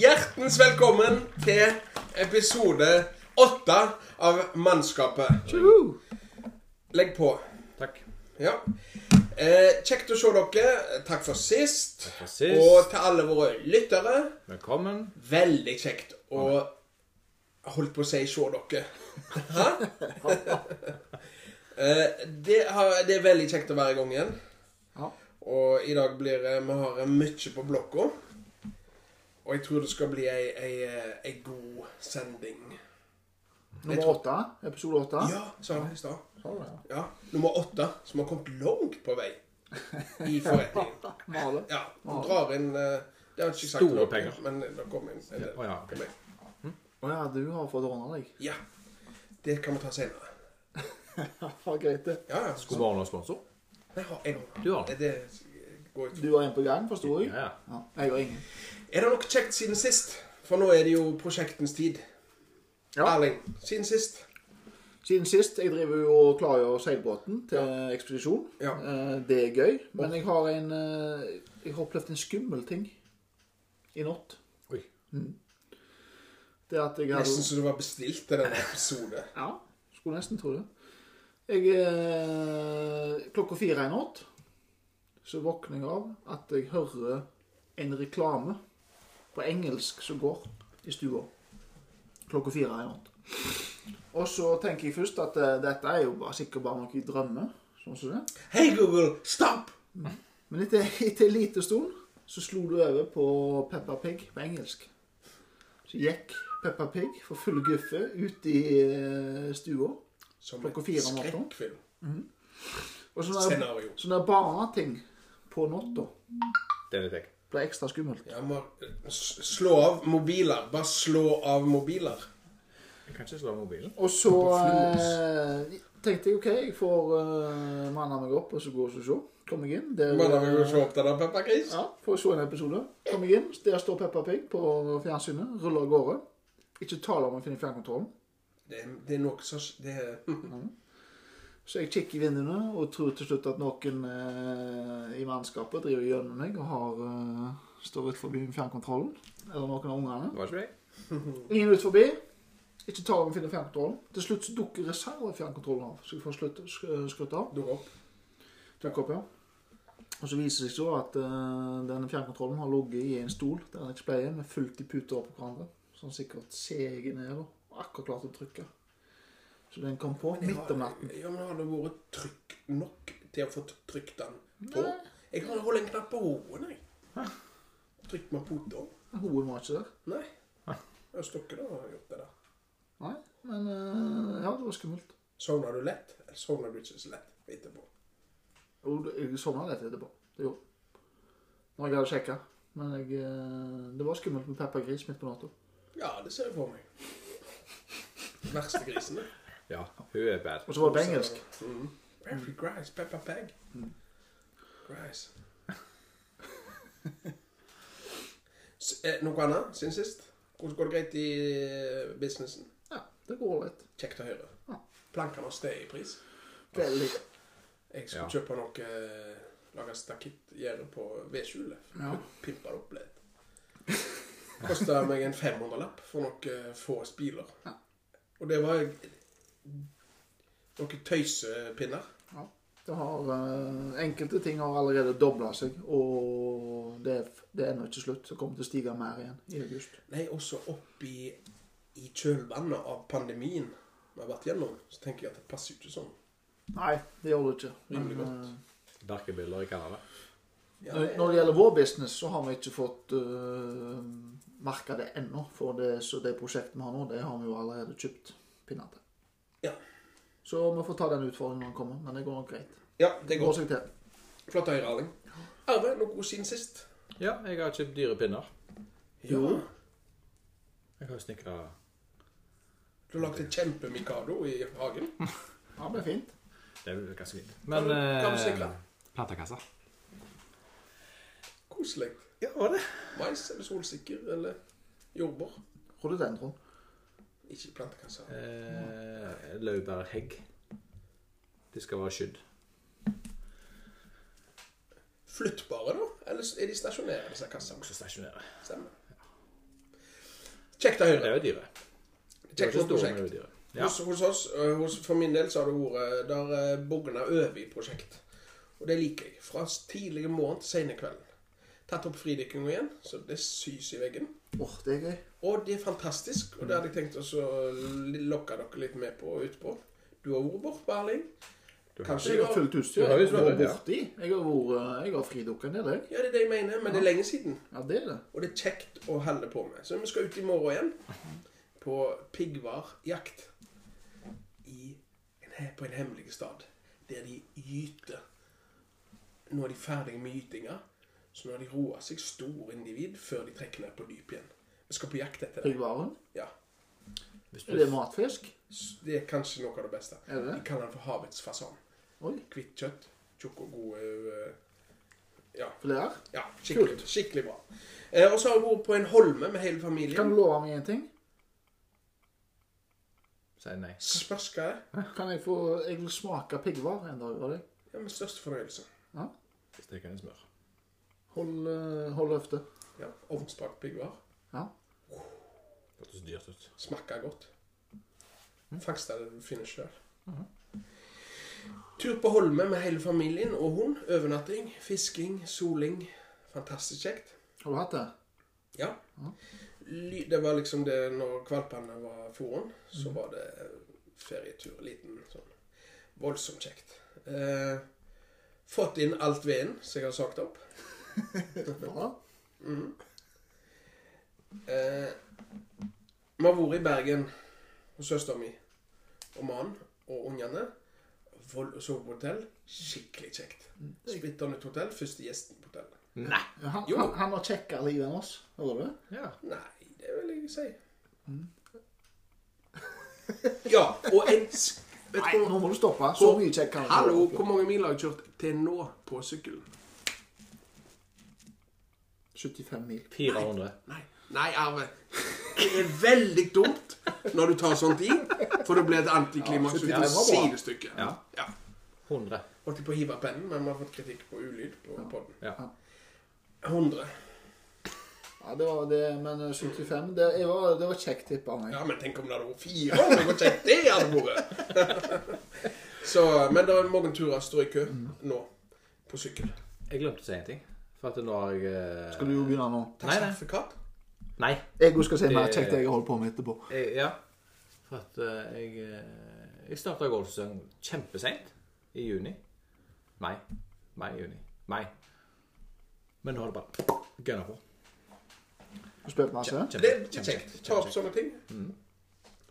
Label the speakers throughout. Speaker 1: Hjertens velkommen til episode åtte av Mannskapet. Legg på.
Speaker 2: Takk.
Speaker 1: Ja. Eh, kjekt å se dere. Takk for sist.
Speaker 2: for sist.
Speaker 1: Og til alle våre lyttere.
Speaker 2: Velkommen.
Speaker 1: Veldig kjekt å Holdt på å si se dere. Hæ? Eh, det, har, det er veldig kjekt å være i gang igjen.
Speaker 3: Ja.
Speaker 1: Og i dag blir det- vi har eh, mye på blokka. Og jeg tror det skal bli ei, ei, eh, ei god sending. Jeg
Speaker 3: Nummer
Speaker 1: tror-
Speaker 3: åtte? Episode åtte?
Speaker 1: Ja, sa han i stad.
Speaker 3: Sa du det?
Speaker 1: Ja, nummer åtte, som har kommet langt på vei i forretningen.
Speaker 3: Male.
Speaker 1: Ja, og drar inn eh, Det har jeg ikke sagt
Speaker 2: Store
Speaker 1: noe,
Speaker 2: penger.
Speaker 1: Men det kommer inn. Eller,
Speaker 2: Å ja, ok.
Speaker 1: kommer inn.
Speaker 3: Å ja, du har fått ordna deg.
Speaker 1: Ja. Det kan vi ta senere.
Speaker 3: Ja, greit det.
Speaker 1: Ja, ja.
Speaker 2: Skulle bare ha noen sponsor.
Speaker 1: Jeg har en gang.
Speaker 2: Du har den.
Speaker 1: Det går ut.
Speaker 3: Du har en på gang, forsto jeg?
Speaker 2: Ja, ja.
Speaker 3: ja. Jeg har ingen.
Speaker 1: Er det noe kjekt siden sist? For nå er det jo prosjektens tid.
Speaker 3: Ja.
Speaker 1: Erling, siden sist.
Speaker 3: Siden sist. Jeg driver jo og klargjør seilbåten til ekspedisjon.
Speaker 1: Ja.
Speaker 3: Eh, Det er gøy. Men jeg har en eh, Jeg har opplevd en skummel ting i natt.
Speaker 2: Oi.
Speaker 3: Det at jeg
Speaker 1: Nesten
Speaker 3: hadde
Speaker 1: så du var bestilt til denne episoden.
Speaker 3: Ja, skulle nesten tro det. Jeg eh, Klokka fire i natt så våkner jeg av at jeg hører en reklame på engelsk som går i stua. Klokka fire i natt. Og så tenker jeg først at eh, dette er jo bare, sikkert bare noe i drømme. Sånn som det.
Speaker 1: Hei, Google! Stopp!
Speaker 3: Men etter, etter en liten stund så slo du over på Peppa Pig på engelsk. Så gikk Peppa Pig for full guffe ut i eh, stua.
Speaker 1: Som
Speaker 3: Klokka
Speaker 1: et
Speaker 3: fire om natta.
Speaker 1: skrekkfilm.
Speaker 3: Og sånne,
Speaker 1: Scenario.
Speaker 3: sånne barneting på natta
Speaker 2: Det er litt ekkelt.
Speaker 3: ble ekstra skummelt.
Speaker 1: Ja, må s- slå av mobiler. Bare slå av mobiler.
Speaker 2: Jeg kan ikke slå av mobilen.
Speaker 3: Og så
Speaker 1: flus.
Speaker 3: eh, tenkte jeg OK, jeg får eh, manne meg opp og så gå og så se. Kom jeg inn. Der, eh,
Speaker 1: Bare vi går så opptatt av Peppa Gris.
Speaker 3: ja, får jeg se en episode. Kom jeg inn, der står Peppa Pig på fjernsynet. Ruller av gårde. Ikke tale om å finne fjernkontrollen.
Speaker 1: Det, er- det er noe som Det er hm,
Speaker 3: Så jeg kikker i vinduene og tror til slutt at noen eh, i mannskapet driver gjennom meg og har, eh, står utenfor fjernkontrollen. Eller noen av ungene.
Speaker 2: Det var ikke deg.
Speaker 3: Ingen ut forbi. Ikke ta om å finne fjernkontrollen. Til slutt så dukker reservefjernkontrollen av. Så jeg får slutt, sk- eh, skrutt av.
Speaker 1: dukker opp.
Speaker 3: Dukker opp, ja. Og så viser det seg så at eh, denne fjernkontrollen har ligget i en stol der den ikke pleier, med fullt i puter oppå hverandre. Så den sikkert seger ned da. og akkurat klart å trykke. Så den kom på midt om natten.
Speaker 1: Ja, men har det vært trykk nok til å få trykt den på? Jeg kan holde en knapp på hoen, jeg. Trykt med pota.
Speaker 3: Hoen var ikke der.
Speaker 1: Nei. Jeg stokker da har gjort det der.
Speaker 3: Nei, men eh, ja, det var skummelt.
Speaker 1: Sovner du lett, eller sovner du ikke så lett etterpå?
Speaker 3: Jo, det- jeg sovna litt etterpå. Det gjorde jeg. Når jeg hadde sjekka. Men jeg, eh, det var skummelt med Peppa Gris midt på natta.
Speaker 1: Ja, det ser jeg for meg. Verste grisene.
Speaker 2: Ja, hun er bad.
Speaker 3: Og så var det på engelsk. Mm.
Speaker 1: Mm. Every grass, pepper peg. Grass. S- eh, Noe annet siden sist? Hvordan går det greit i eh, businessen?
Speaker 3: Ja, det går litt.
Speaker 1: Kjekt å
Speaker 3: Ja.
Speaker 1: høre. Plankene har steget i pris.
Speaker 3: Veldig.
Speaker 1: Jeg skulle
Speaker 2: Ja.
Speaker 1: kjøpe noe eh, Lage stakittgjerde på vedskjulet.
Speaker 3: Ja.
Speaker 1: Pimpa det opp litt. Kosta meg en 500-lapp for noen eh, få spiler.
Speaker 3: Ja.
Speaker 1: Og det var noen tøysepinner.
Speaker 3: ja. Det har, eh, enkelte ting har allerede dobla seg, og det, er- det er ennå ikke slutt. Det kommer til å stige mer igjen i august.
Speaker 1: Nei, også oppi i kjølvannet av pandemien vi har vært gjennom, så tenker jeg at det passer jo ikke sånn.
Speaker 3: Nei, det gjør det ikke. Men,
Speaker 1: Nemlig godt.
Speaker 3: eh,
Speaker 2: Darkebilder i Canada.
Speaker 1: Ja,
Speaker 3: når når det gjelder vår business, så har vi ikke fått uh, merka det ennå. For det, så det prosjektet vi har nå, det har vi jo allerede kjøpt pinner til.
Speaker 1: Ja.
Speaker 3: Så vi får ta den utfordringen når den kommer, men det går nok greit.
Speaker 1: ja det
Speaker 3: Det går
Speaker 1: går.
Speaker 3: seg til.
Speaker 1: Flott å høre, Erling. Arve, noe siden sist?
Speaker 2: Ja, jeg har kjøpt dyre pinner.
Speaker 1: Jo.
Speaker 2: Jeg har snekra
Speaker 1: Du lagde kjempemikado i hagen.
Speaker 3: Ja, det blir fint.
Speaker 2: Det er vel ganske fint.
Speaker 1: Hva
Speaker 2: Men
Speaker 1: har du- hva har du
Speaker 2: eh,
Speaker 1: snekret?
Speaker 2: Plantekassa.
Speaker 1: Koselig.
Speaker 2: Ja, var det?
Speaker 1: Mais eller solsikker eller jordbær.
Speaker 3: Rododendron.
Speaker 1: Ikke plantekasser.
Speaker 2: Eh, Laurbærhegg. De skal være skydd.
Speaker 1: Flyttbare, da? Eller er de stasjonære, disse kassene?
Speaker 2: Også stasjonære.
Speaker 1: Stemmer. Kjekt av
Speaker 2: Men det
Speaker 1: Høyre.
Speaker 2: er jo dyre. De er
Speaker 1: Kjekt
Speaker 2: ikke
Speaker 1: for
Speaker 2: store, men
Speaker 1: prosjekt.
Speaker 2: det er jo dyre. Ja.
Speaker 1: Hos, hos oss, eh, hos, for min del, så har det vært der eh, bugna over i prosjekt. Og det liker jeg. Fra s- tidlige morgen til sene kvelden. Tatt opp fridykkinga igjen, så det sys i veggen.
Speaker 3: Åh, det er gøy.
Speaker 1: Og det er fantastisk, og det hadde jeg tenkt også å li- lokke dere litt med på utpå. Du har vært borte, Erling.
Speaker 2: Du har-
Speaker 1: Kanskje
Speaker 3: Jeg
Speaker 1: du
Speaker 3: har
Speaker 1: har sånn-
Speaker 3: fullt utstyr.
Speaker 2: Du har jo
Speaker 3: Jeg har vært
Speaker 2: Sverre, ja.
Speaker 3: borti. Jeg har, vært- eh, jeg har fridukket en del, jeg.
Speaker 1: Ja, det er det jeg mener, men det er lenge siden.
Speaker 3: Ja, det er det.
Speaker 1: Og det er kjekt å holde på med. Så vi skal ut i morgen igjen på piggvarjakt i en, he- på en hemmelig stad. Der de gyter. Nå er de ferdige med gytinga, så nå har de roa seg store individ før de trekker ned på dyp igjen. Vi skal på jakt etter det.
Speaker 3: Ryggvaren.
Speaker 1: Ja,
Speaker 2: Hvis du-
Speaker 3: Er det matfisk?
Speaker 1: S- Det er kanskje noe av det beste.
Speaker 3: Er det
Speaker 1: De
Speaker 3: det?
Speaker 1: kaller den for havets fasan.
Speaker 3: Oi,
Speaker 1: Hvitt kjøtt, tjukk og god eh, Ja,
Speaker 3: flere?
Speaker 1: ja skikkelig, skikkelig bra. Eh, og så har jeg vært på en holme med hele
Speaker 3: Kan
Speaker 1: familien.
Speaker 3: du love meg en ting?
Speaker 2: Sier nei.
Speaker 1: Spørs hva det er.
Speaker 3: Kan jeg få Jeg vil smake piggvar en dag av deg.
Speaker 1: Ja, med største fornøyelse.
Speaker 2: Steker den i smør.
Speaker 3: Hold, eh, hold løftet.
Speaker 1: Ja, Ovnsbakt piggvar.
Speaker 3: Ja.
Speaker 2: Det hørtes dyrt ut.
Speaker 1: Smaker godt.
Speaker 3: Mm.
Speaker 1: Fangst er det du finner sjøl.
Speaker 3: Mhm.
Speaker 1: Tur på Holme med hele familien og hund. Overnatting, fisking, soling. Fantastisk kjekt.
Speaker 3: Har du hatt det?
Speaker 1: Ja. Ly- Det var liksom det når valpene var foren, så var det ferietur. Liten sånn. Voldsomt kjekt. Eh, fått inn alt veden som jeg har sagt opp.
Speaker 3: Bra.
Speaker 1: Eh, Vi har vært i Bergen hos søsteren min og mannen og ungene. Vold og sove på hotell. Skikkelig kjekt. Splitter nytt hotell. Første gjesten på hotellet.
Speaker 2: Nei!
Speaker 3: Ja, Han,
Speaker 1: Jo.
Speaker 3: han, han har kjekkere liv enn oss. Hører du?
Speaker 2: Ja.
Speaker 1: Nei, det vil jeg si. Ja, og en sk- Vet
Speaker 3: Nei,
Speaker 1: du hvor,
Speaker 3: nå må du stoppe. Så mye kjekkere. enn
Speaker 1: hallo,
Speaker 3: oss.
Speaker 1: hvor mange mil har jeg kjørt til nå på sykkelen?
Speaker 3: 75 mil.
Speaker 2: 400.
Speaker 1: Nei, nei, Arve. Det er veldig dumt når du tar sånt i, for det blir et antiklimaks
Speaker 3: Ja,
Speaker 1: uten
Speaker 3: det var bra.
Speaker 1: sidestykke.
Speaker 2: Ja.
Speaker 1: ja.
Speaker 2: 100.
Speaker 1: Holdt på å hive av pennen, men vi har fått kritikk på ulyd på podden.
Speaker 2: Ja.
Speaker 1: 100.
Speaker 3: Ja, det var det, men eh, 75 Det, jeg var, det var kjekt tippa av meg.
Speaker 1: Ja, men tenk om det hadde vært fire år! Hvor kjekt det hadde vært! Så, men det er mange turer står i kø nå, på sykkel.
Speaker 2: Jeg glemte å si en ting. For at nå har jeg eh,
Speaker 3: Skal du jo begynne nå?
Speaker 1: Takk
Speaker 2: Nei, nei.
Speaker 1: straffekatt.
Speaker 2: Nei.
Speaker 3: Jeg skal si mer
Speaker 2: Det-
Speaker 3: kjekt det jeg holder på med etterpå.
Speaker 2: Jeg, ja. For at eh, jeg eh, Jeg starta golfsesongen kjempeseint. I juni. Mai. Mai, juni. Mai. Men nå har det bare gønna på.
Speaker 3: Du spilte masse?
Speaker 1: Det er kjekt. Ta opp sånne ting.
Speaker 3: Mm.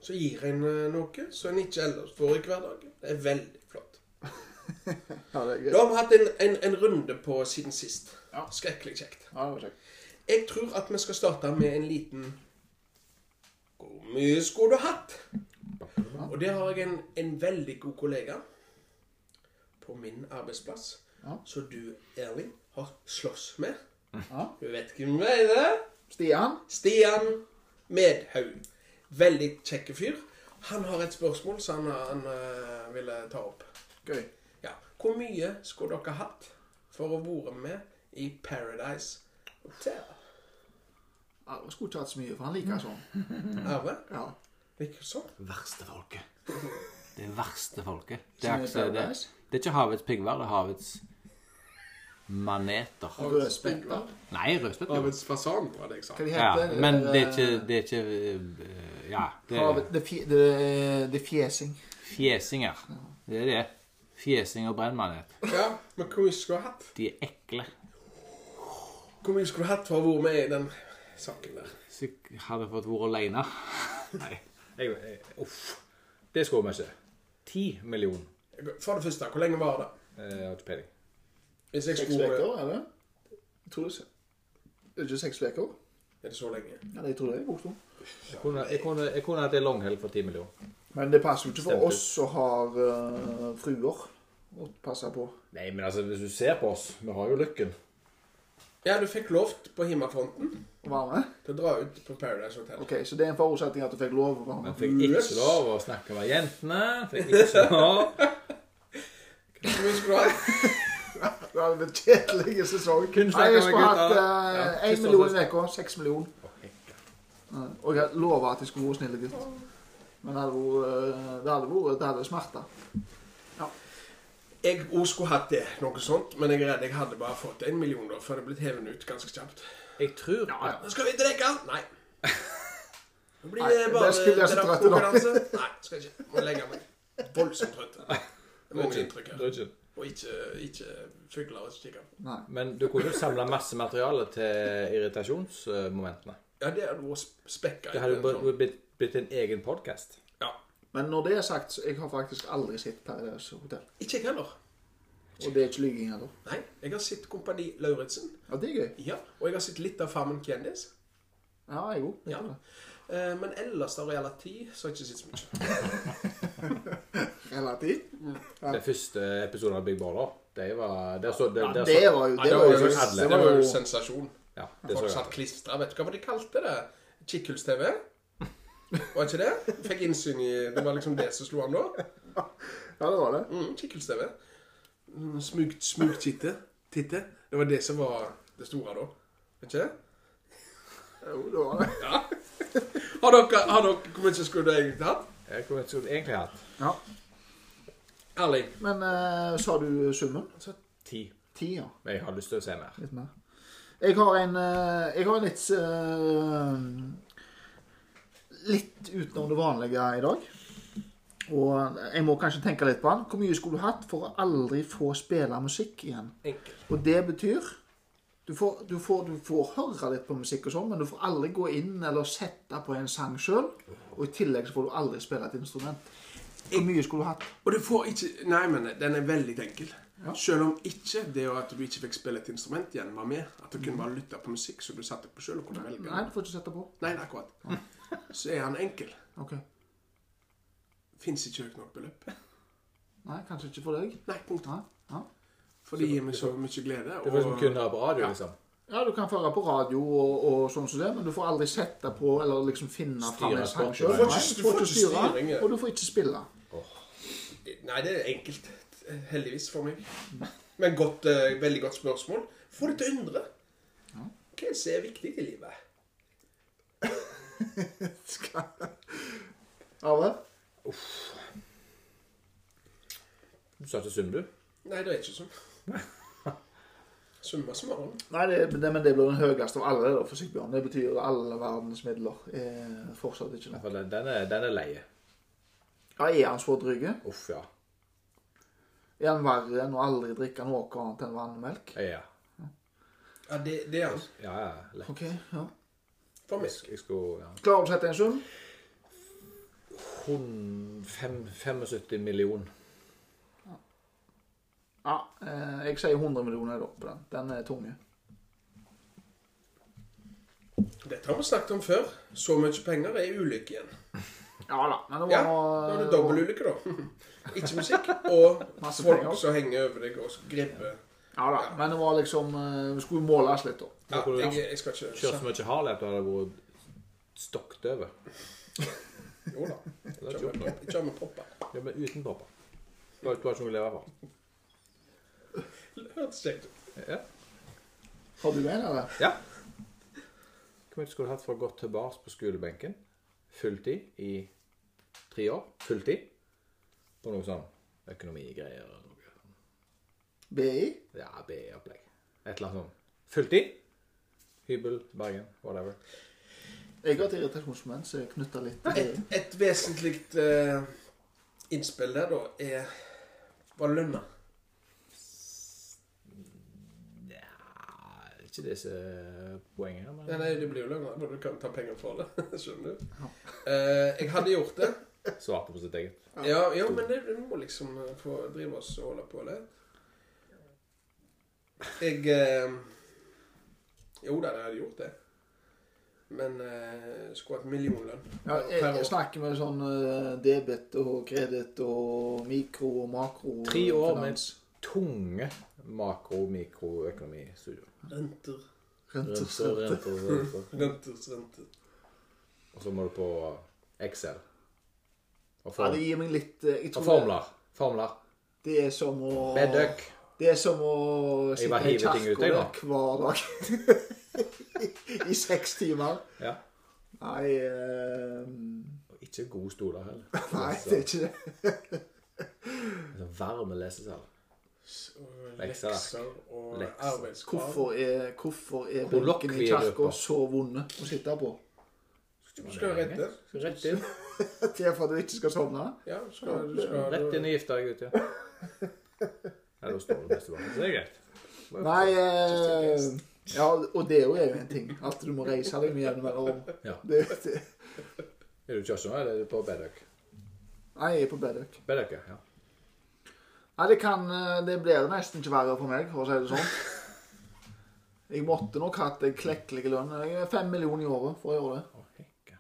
Speaker 1: Så gir en eh, noe som en ikke ellers får i hverdagen. Det er veldig flott.
Speaker 3: Ja, det er gøy.
Speaker 1: Da har vi hatt en, en, en runde på siden sist.
Speaker 3: Ja.
Speaker 1: Skrekkelig kjekt.
Speaker 3: Ja, det var kjekt.
Speaker 1: Jeg tror at vi skal starte med en liten Hvor mye skulle du hatt? Og der har jeg en, en veldig god kollega på min arbeidsplass
Speaker 3: Ja.
Speaker 1: som du, Erling, har slåss med.
Speaker 3: Ja.
Speaker 1: Du vet hvem det er? det?
Speaker 3: Stian?
Speaker 1: Stian Medhaug. Veldig kjekk fyr. Han har et spørsmål som han, han eh, ville ta opp.
Speaker 3: Gøy.
Speaker 1: Ja. Hvor mye skulle dere hatt for å være med i Paradise Hotel?
Speaker 3: Ja, jeg skulle ikke hatt så mye, for han liker sånn.
Speaker 1: Arve?
Speaker 3: Ja.
Speaker 1: Ikke sånn?
Speaker 2: Verste folket. Det verste folket. Det
Speaker 3: Som
Speaker 2: er,
Speaker 3: er
Speaker 2: ikke, det,
Speaker 3: Paradise?
Speaker 2: det er ikke havets piggvær, det er havets maneter.
Speaker 3: Rødspetta.
Speaker 2: Nei, rødspett. jo.
Speaker 1: Havets fasan, var det jeg sa.
Speaker 3: Hva de
Speaker 2: Ja,
Speaker 3: heter de?
Speaker 2: men det er ikke, det er ikke eh, Ja. Det er
Speaker 3: Havet, det, fje, det, det er fjesing.
Speaker 2: fjesinger. Det er det. Fjesing og brennmanet.
Speaker 1: Ja, men hvor mye skulle du ha hatt?
Speaker 2: De er ekle.
Speaker 1: Hvor mye skulle du hatt for å være med i den saken der?
Speaker 2: Så jeg hadde fått vært alene. Nei. Jeg, jeg, uff. Det skulle vi ikke. Ti millioner.
Speaker 1: For det første, hvor lenge var det?
Speaker 2: Jeg har ikke peiling.
Speaker 1: Hvis jeg
Speaker 3: Seks
Speaker 1: skulle
Speaker 3: uker, er det? Jeg tror det er se- Er det ikke seks uker?
Speaker 1: Er det så lenge?
Speaker 3: Ja, det tror jeg er bortom.
Speaker 2: Jeg kunne, jeg, kunne, jeg kunne hatt en langhelg for ti millioner.
Speaker 3: Men det passer jo ikke
Speaker 2: Stemte.
Speaker 3: for oss som har eh, fruer å passe på.
Speaker 2: Nei, men altså, hvis du ser på oss Vi har jo lykken.
Speaker 1: Ja, du fikk lovt på Himmafronten
Speaker 3: Å være med.
Speaker 1: til å dra ut på Paradise Hotel.
Speaker 3: Ok, Så det er en forutsetning at du fikk lov å være
Speaker 2: Men
Speaker 3: med.
Speaker 2: fikk ikke lov å snakke med jentene. Fikk ikke lov.
Speaker 1: hvor mye skulle du ha?
Speaker 3: Det hadde blitt kjedelig sesong.
Speaker 2: Kun
Speaker 3: Nei, jeg
Speaker 2: snakker
Speaker 3: skulle
Speaker 2: med
Speaker 3: hatt
Speaker 2: gutta,
Speaker 3: eh,
Speaker 2: Ja,
Speaker 3: én
Speaker 2: forstår
Speaker 3: million i
Speaker 2: det.
Speaker 3: uka. Seks millioner.
Speaker 2: Ok.
Speaker 3: Eh, Og jeg lova at jeg skulle være snill gutt. Men det hadde vært eh, Det hadde vært det hadde smerta.
Speaker 1: Jeg også skulle hatt det, noe sånt, men jeg er redd jeg hadde bare fått en million, da, for det hadde blitt hevet ut ganske kjapt.
Speaker 2: Jeg tror
Speaker 3: Ja, ja.
Speaker 1: Nå skal vi drikke! Nei. Nå blir
Speaker 3: Nei,
Speaker 1: det bare
Speaker 3: det skulle jeg så trøtt i dag.
Speaker 1: konkurranse. Nei, skal jeg ikke. Må legge meg. Voldsomt trøtt. Det er Mange inntrykk her.
Speaker 2: Drudgen.
Speaker 1: Og ikke, ikke fugler og ikke kikker.
Speaker 3: Nei.
Speaker 2: Men du kunne jo samla masse materiale til irritasjonsmomentene.
Speaker 1: Ja, det hadde vært spekka.
Speaker 2: Det hadde jo
Speaker 1: sånn.
Speaker 2: bare blitt, blitt en egen podkast.
Speaker 1: Ja.
Speaker 3: Men når det er sagt, så jeg har faktisk aldri sett Paradise Hotel.
Speaker 1: Ikke jeg heller.
Speaker 3: Og det er ikke lyging heller.
Speaker 1: Nei, jeg har sett Kompani Lauritzen.
Speaker 3: Ja, det er gøy.
Speaker 1: Ja, og jeg har sett litt av Farmen kjendis.
Speaker 3: Ja, jeg òg.
Speaker 1: Ja. Eh, Men ellers av reality så har jeg ikke sett så mye.
Speaker 3: Relativt. Ja.
Speaker 2: Den første episoden av Big Baller, det var Der så der,
Speaker 3: Ja,
Speaker 2: der
Speaker 3: det
Speaker 2: så-
Speaker 3: var jo
Speaker 1: Nei,
Speaker 3: Det var jo
Speaker 2: sånn alle.
Speaker 1: det var jo
Speaker 3: jo-
Speaker 1: sensasjon.
Speaker 2: Ja, det
Speaker 1: Folk
Speaker 2: så
Speaker 1: satt
Speaker 2: jeg.
Speaker 1: klistra. Vet du hva de kalte det? Kikkhuls-TV? Var ikke det? Fikk innsyn i Det var liksom det som slo an da.
Speaker 3: Ja, det var det.
Speaker 1: Mm, Kikkhuls-TV. Mm, Smugt, smugt titte. titte. Det var det som var det store da. Vet ikke det?
Speaker 3: Jo, det var det.
Speaker 1: Har dere, har dere Hvor mye skulle du egentlig hatt?
Speaker 2: Jeg kunne jeg skulle egentlig hatt
Speaker 3: Ja.
Speaker 1: Ærlig.
Speaker 3: Men eh, sa du summen?
Speaker 2: ti.
Speaker 3: Ti, ja.
Speaker 2: Men jeg har lyst til å se mer.
Speaker 3: Litt mer. Jeg har en, eh, jeg har en litt eh, Litt utenom det vanlige i dag. Og jeg må kanskje tenke litt på den. Hvor mye skulle du hatt for å aldri få spille musikk igjen?
Speaker 1: Enkelt.
Speaker 3: Og det betyr du får, du, får, du får høre litt på musikk og sånn, men du får aldri gå inn eller sette på en sang sjøl. Og i tillegg så får du aldri spille et instrument. Hvor mye skulle du hatt?
Speaker 1: Og du får ikke Nei, men den er veldig enkel. Selv om ikke det å at du ikke fikk spille et instrument igjen, var med. At du kunne bare lytte på musikk som du satte på sjøl og kunne velge.
Speaker 3: Nei, du får ikke sette på.
Speaker 1: Nei, det er akkurat. Så er han enkel.
Speaker 3: Ok.
Speaker 1: Fins ikke høyt nok beløp.
Speaker 3: Nei, kanskje ikke for deg.
Speaker 1: Nei, punkt.
Speaker 3: Nei. Ja.
Speaker 1: For det gir meg så mye glede.
Speaker 2: Det var som kun høre på radio, liksom.
Speaker 3: Ja, du kan føre på radio og, og sånn som det, men du får aldri sette på eller liksom finne fram
Speaker 2: Styre
Speaker 3: en sang
Speaker 2: Spotify.
Speaker 3: sjøl.
Speaker 2: Du får
Speaker 1: ikke-
Speaker 3: Du får ikke styre,
Speaker 1: styring, ja.
Speaker 3: og du får ikke spille.
Speaker 1: Nei, det er enkelt. Heldigvis for meg. Men godt, eh, veldig godt spørsmål. Få det til å undre. Hva er det som er viktig i livet?
Speaker 3: Arve?
Speaker 2: Du sa ikke sum, du?
Speaker 1: Nei, det er ikke sånn. Summa summarum.
Speaker 3: Nei, det, det, men det blir den høyeste av alle, det da, for Sigbjørn. Det betyr jo alle verdens midler. Er fortsatt ikke noe.
Speaker 2: For den, den, er, den er leie.
Speaker 3: Ja, Er han så dryg?
Speaker 2: Uff, ja.
Speaker 3: Er han verre enn å aldri drikke noe annet enn vannmelk?
Speaker 2: Ja,
Speaker 1: Ja, det, det er han.
Speaker 2: ja. ja lett.
Speaker 3: Ok, ja.
Speaker 1: For meg.
Speaker 2: Jeg skulle ja.
Speaker 3: Klarer du å sette en sum?
Speaker 2: 175 millioner.
Speaker 3: Ja. Eh, jeg sier 100 millioner da på den. Den er tung.
Speaker 1: Dette har vi snakket om før. Så mye penger er ulykke igjen.
Speaker 3: Ja da. Men det var
Speaker 1: Ja, da er det dobbel ulykke, da. Ikke musikk, og
Speaker 3: Masse
Speaker 1: folk
Speaker 3: penger.
Speaker 1: som henger over deg og griper.
Speaker 3: eh, Ja da. Men det var liksom eh, Vi skulle måles litt, da.
Speaker 1: Ja, jeg, jeg skal ikke
Speaker 2: Kjørt så mye hard at du hadde vært stokket over.
Speaker 1: Jo da.
Speaker 2: Det hadde
Speaker 1: Kjør
Speaker 2: ikke
Speaker 1: med
Speaker 2: gjort noe.
Speaker 1: pop- kjør med poppa.
Speaker 2: Ja, men uten pappa. Du har du har ikke noe å leve for.
Speaker 1: Hørtes kjekt ut.
Speaker 2: Ja.
Speaker 3: Har du en, eller?
Speaker 2: ja. Hvor mye skulle du hatt for å gå tilbake på skolebenken? Fulltid i tre år. Fulltid. På noe sånn økonomigreier eller noe.
Speaker 3: BI?
Speaker 2: Ja, BE-opplegg. Et eller annet sånn. Fulltid. Hybel, Bergen, whatever.
Speaker 3: Jeg har et irritasjonsmoment som er knytta litt til
Speaker 1: Et, et vesentlig eh, innspill der, da, er Var det lønna?
Speaker 2: Nja, ikke disse poengene, men
Speaker 1: Ja, nei, det blir jo lønna. men Du kan ta penger for det. Skjønner du? Eh, jeg hadde gjort det.
Speaker 2: svarte på sitt eget.
Speaker 1: Ja, ja men det, vi må liksom eh, få drive oss og holde på litt. Jeg eh, Jo da, jeg hadde gjort det. Men eh, skulle hatt millionlønn.
Speaker 3: ja, jeg,
Speaker 1: per år.
Speaker 3: jeg snakker med sånn eh, debet og kreditt og mikro og makro og
Speaker 2: Tre år med-
Speaker 3: finans.
Speaker 2: Tunge makro-mikroøkonomistudier.
Speaker 1: Renter,
Speaker 3: Rent og
Speaker 2: Renter,
Speaker 3: slett.
Speaker 2: renter, renter.
Speaker 1: renter, renter.
Speaker 2: Og så må du på Excel. Og,
Speaker 3: Ja,
Speaker 2: form,
Speaker 3: det gir meg litt eh, jeg
Speaker 2: og
Speaker 3: tror det,
Speaker 2: formler. Formler.
Speaker 3: Det er som å
Speaker 2: Bad duck.
Speaker 3: Det er som å
Speaker 2: Jeg bare
Speaker 3: sitte i
Speaker 2: hiver ting ut, jeg,
Speaker 3: kirka
Speaker 2: da.
Speaker 3: hver dag. I seks timer.
Speaker 2: Ja.
Speaker 3: Nei eh,
Speaker 2: Og ikke god stoler heller.
Speaker 3: Nei,
Speaker 2: Så-
Speaker 3: det er ikke det.
Speaker 2: så Varme lesesal.
Speaker 1: Og
Speaker 2: Lekser, da.
Speaker 1: lekser og
Speaker 2: Lekser.
Speaker 1: arbeidskrav.
Speaker 3: Hvorfor er, hvorfor er benken i kirka
Speaker 2: Kollokviegrupper.
Speaker 3: så vond å sitte på?
Speaker 1: Du skal redde.
Speaker 2: Skal Rett inn
Speaker 3: Det er for at du ikke skal sovne?
Speaker 1: Ja, du skal, du skal
Speaker 2: Rett inn i gifta deg, gutt. Ja, Ja, da står du mest tilbake. Så det er greit.
Speaker 3: Nei eh, Ja, og det er jo en ting. At du må reise deg med jevne mellomrom.
Speaker 2: Ja.
Speaker 3: Det, det.
Speaker 2: Er du i kirken nå, eller er du på Bad duck?
Speaker 3: Nei, jeg er på Bedøk.
Speaker 2: Bad duck, ja. ja.
Speaker 3: Nei, det kan eh, Det blir nesten ikke verre for meg, for å si det sånn. Jeg måtte nok hatt en klekkelig lønn. Jeg er Fem millioner i året for å gjøre det.
Speaker 2: Å, hekk, ja.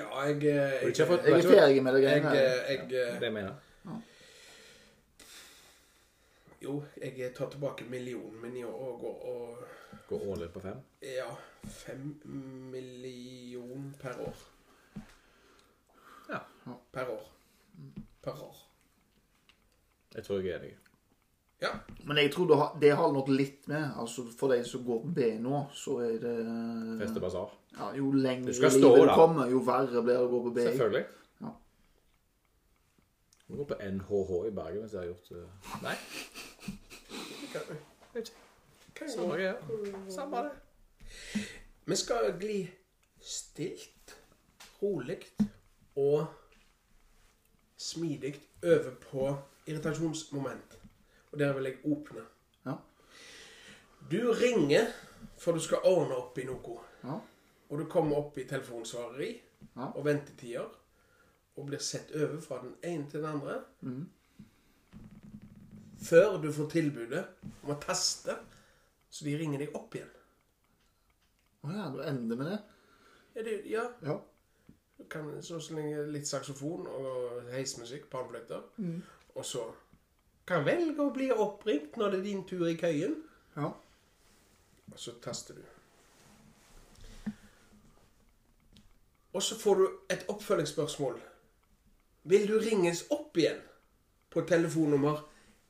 Speaker 1: Ja, jeg, eh,
Speaker 2: Har du
Speaker 1: jeg,
Speaker 2: ikke fått-
Speaker 3: Jeg er ferdig med det
Speaker 1: jeg,
Speaker 3: greiene her.
Speaker 1: eh, jeg,
Speaker 2: Det
Speaker 1: eh,
Speaker 2: jeg mener
Speaker 1: Jo, jeg tar tilbake millionen min i år og går og
Speaker 2: Gå all in på fem.
Speaker 1: Ja, fem million per år.
Speaker 2: Ja.
Speaker 1: Per år. Per år.
Speaker 2: Jeg tror jeg er enig.
Speaker 1: Ja.
Speaker 3: Men jeg tror det har, det har nok litt med altså For de som går på B nå, så er det
Speaker 2: Feste basar.
Speaker 3: ja, Jo lenger
Speaker 2: Du
Speaker 3: i
Speaker 2: skal
Speaker 3: livet
Speaker 2: stå,
Speaker 3: du
Speaker 2: da.
Speaker 3: kommer, jo verre blir det å gå på B.
Speaker 2: Selvfølgelig.
Speaker 3: Ja.
Speaker 2: Du går på NHH i Bergen hvis jeg har gjort eh, Nei,
Speaker 1: Kan,
Speaker 2: vet
Speaker 1: kan jeg
Speaker 2: samme
Speaker 1: gå.
Speaker 2: greia. Samme det.
Speaker 1: Vi skal gli stilt, rolig og smidig over på irritasjonsmoment. Og der vil jeg åpne.
Speaker 3: Ja.
Speaker 1: Du ringer for du skal ordne opp i noe.
Speaker 3: Ja.
Speaker 1: Og du kommer opp i telefonsvareri
Speaker 3: Ja.
Speaker 1: og ventetider. Og blir sett over fra den ene til den andre. Før du får tilbudet om å taste, så de ringer deg opp igjen.
Speaker 3: Å ja, du ender med det?
Speaker 1: Ja, det, ja
Speaker 3: Ja.
Speaker 1: du kan så slenge litt saksofon og heismusikk, panfløyter. Og så kan velge å bli oppringt når det er din tur i køyen.
Speaker 3: ja.
Speaker 1: Og så taster du. Og så får du et oppfølgingsspørsmål. Vil du ringes opp igjen på telefonnummer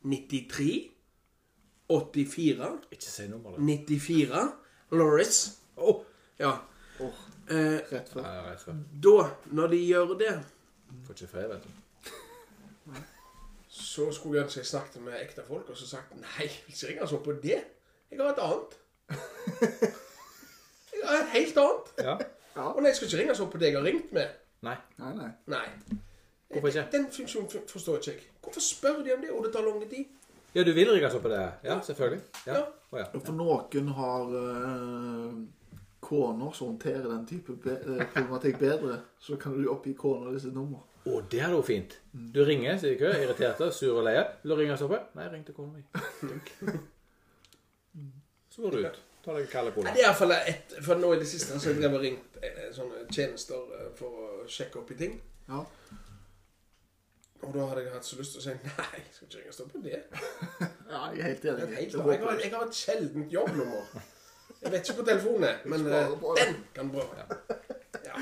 Speaker 1: 93 84
Speaker 2: Ikke si nummer, da.
Speaker 1: 94 Loris? Å, ja.
Speaker 3: Åh,
Speaker 1: Eh,
Speaker 3: rett før.
Speaker 2: Nei, jeg vet ikke.
Speaker 1: da, når de gjør det,
Speaker 2: Får ikke fred, vet du.
Speaker 1: så skulle jeg ønske jeg snakket med ekte folk, og så sagt nei, jeg vil ikke ringe sånn på det. Jeg har et annet. Jeg har et helt annet.
Speaker 2: Ja?
Speaker 1: Og nei, jeg skal ikke ringe sånn på det jeg har ringt med.
Speaker 2: Nei.
Speaker 3: Nei, nei.
Speaker 1: Nei.
Speaker 2: Hvorfor ikke?
Speaker 1: Den funksjonen f- forstår ikke jeg. Hvorfor spør de om det, og det tar lang tid?
Speaker 2: Ja, du vil rigge så på det? Ja, selvfølgelig. Ja. Å, ja.
Speaker 3: For noen har eh, koner som håndterer den type be eh, problematikk bedre. Så kan du oppgi kona di sitt nummer.
Speaker 2: Å, det er jo fint. Du ringer, sier kø, irriterte, sur og leie. Vil du ringe og stoppe? Nei, jeg ringte kona mi. Så går du ut. Ta deg en kald
Speaker 1: Nei,
Speaker 2: cola.
Speaker 1: det er i hvert fall et, for nå i det siste så har jeg drevet og ringt eh, sånne tjenester eh, for å sjekke opp i ting.
Speaker 3: Ja.
Speaker 1: Og da hadde jeg hatt så lyst til å si nei, jeg skal ikke ringe og stå på det.
Speaker 3: ja, jeg er helt
Speaker 1: Det
Speaker 3: enig.
Speaker 1: er helt
Speaker 3: Det
Speaker 1: annet. Jeg
Speaker 3: er
Speaker 1: har,
Speaker 3: håpløst.
Speaker 1: jeg har et sjeldent jobbnummer. Jeg vet ikke på telefonen, men eh, den kan bra. Ja.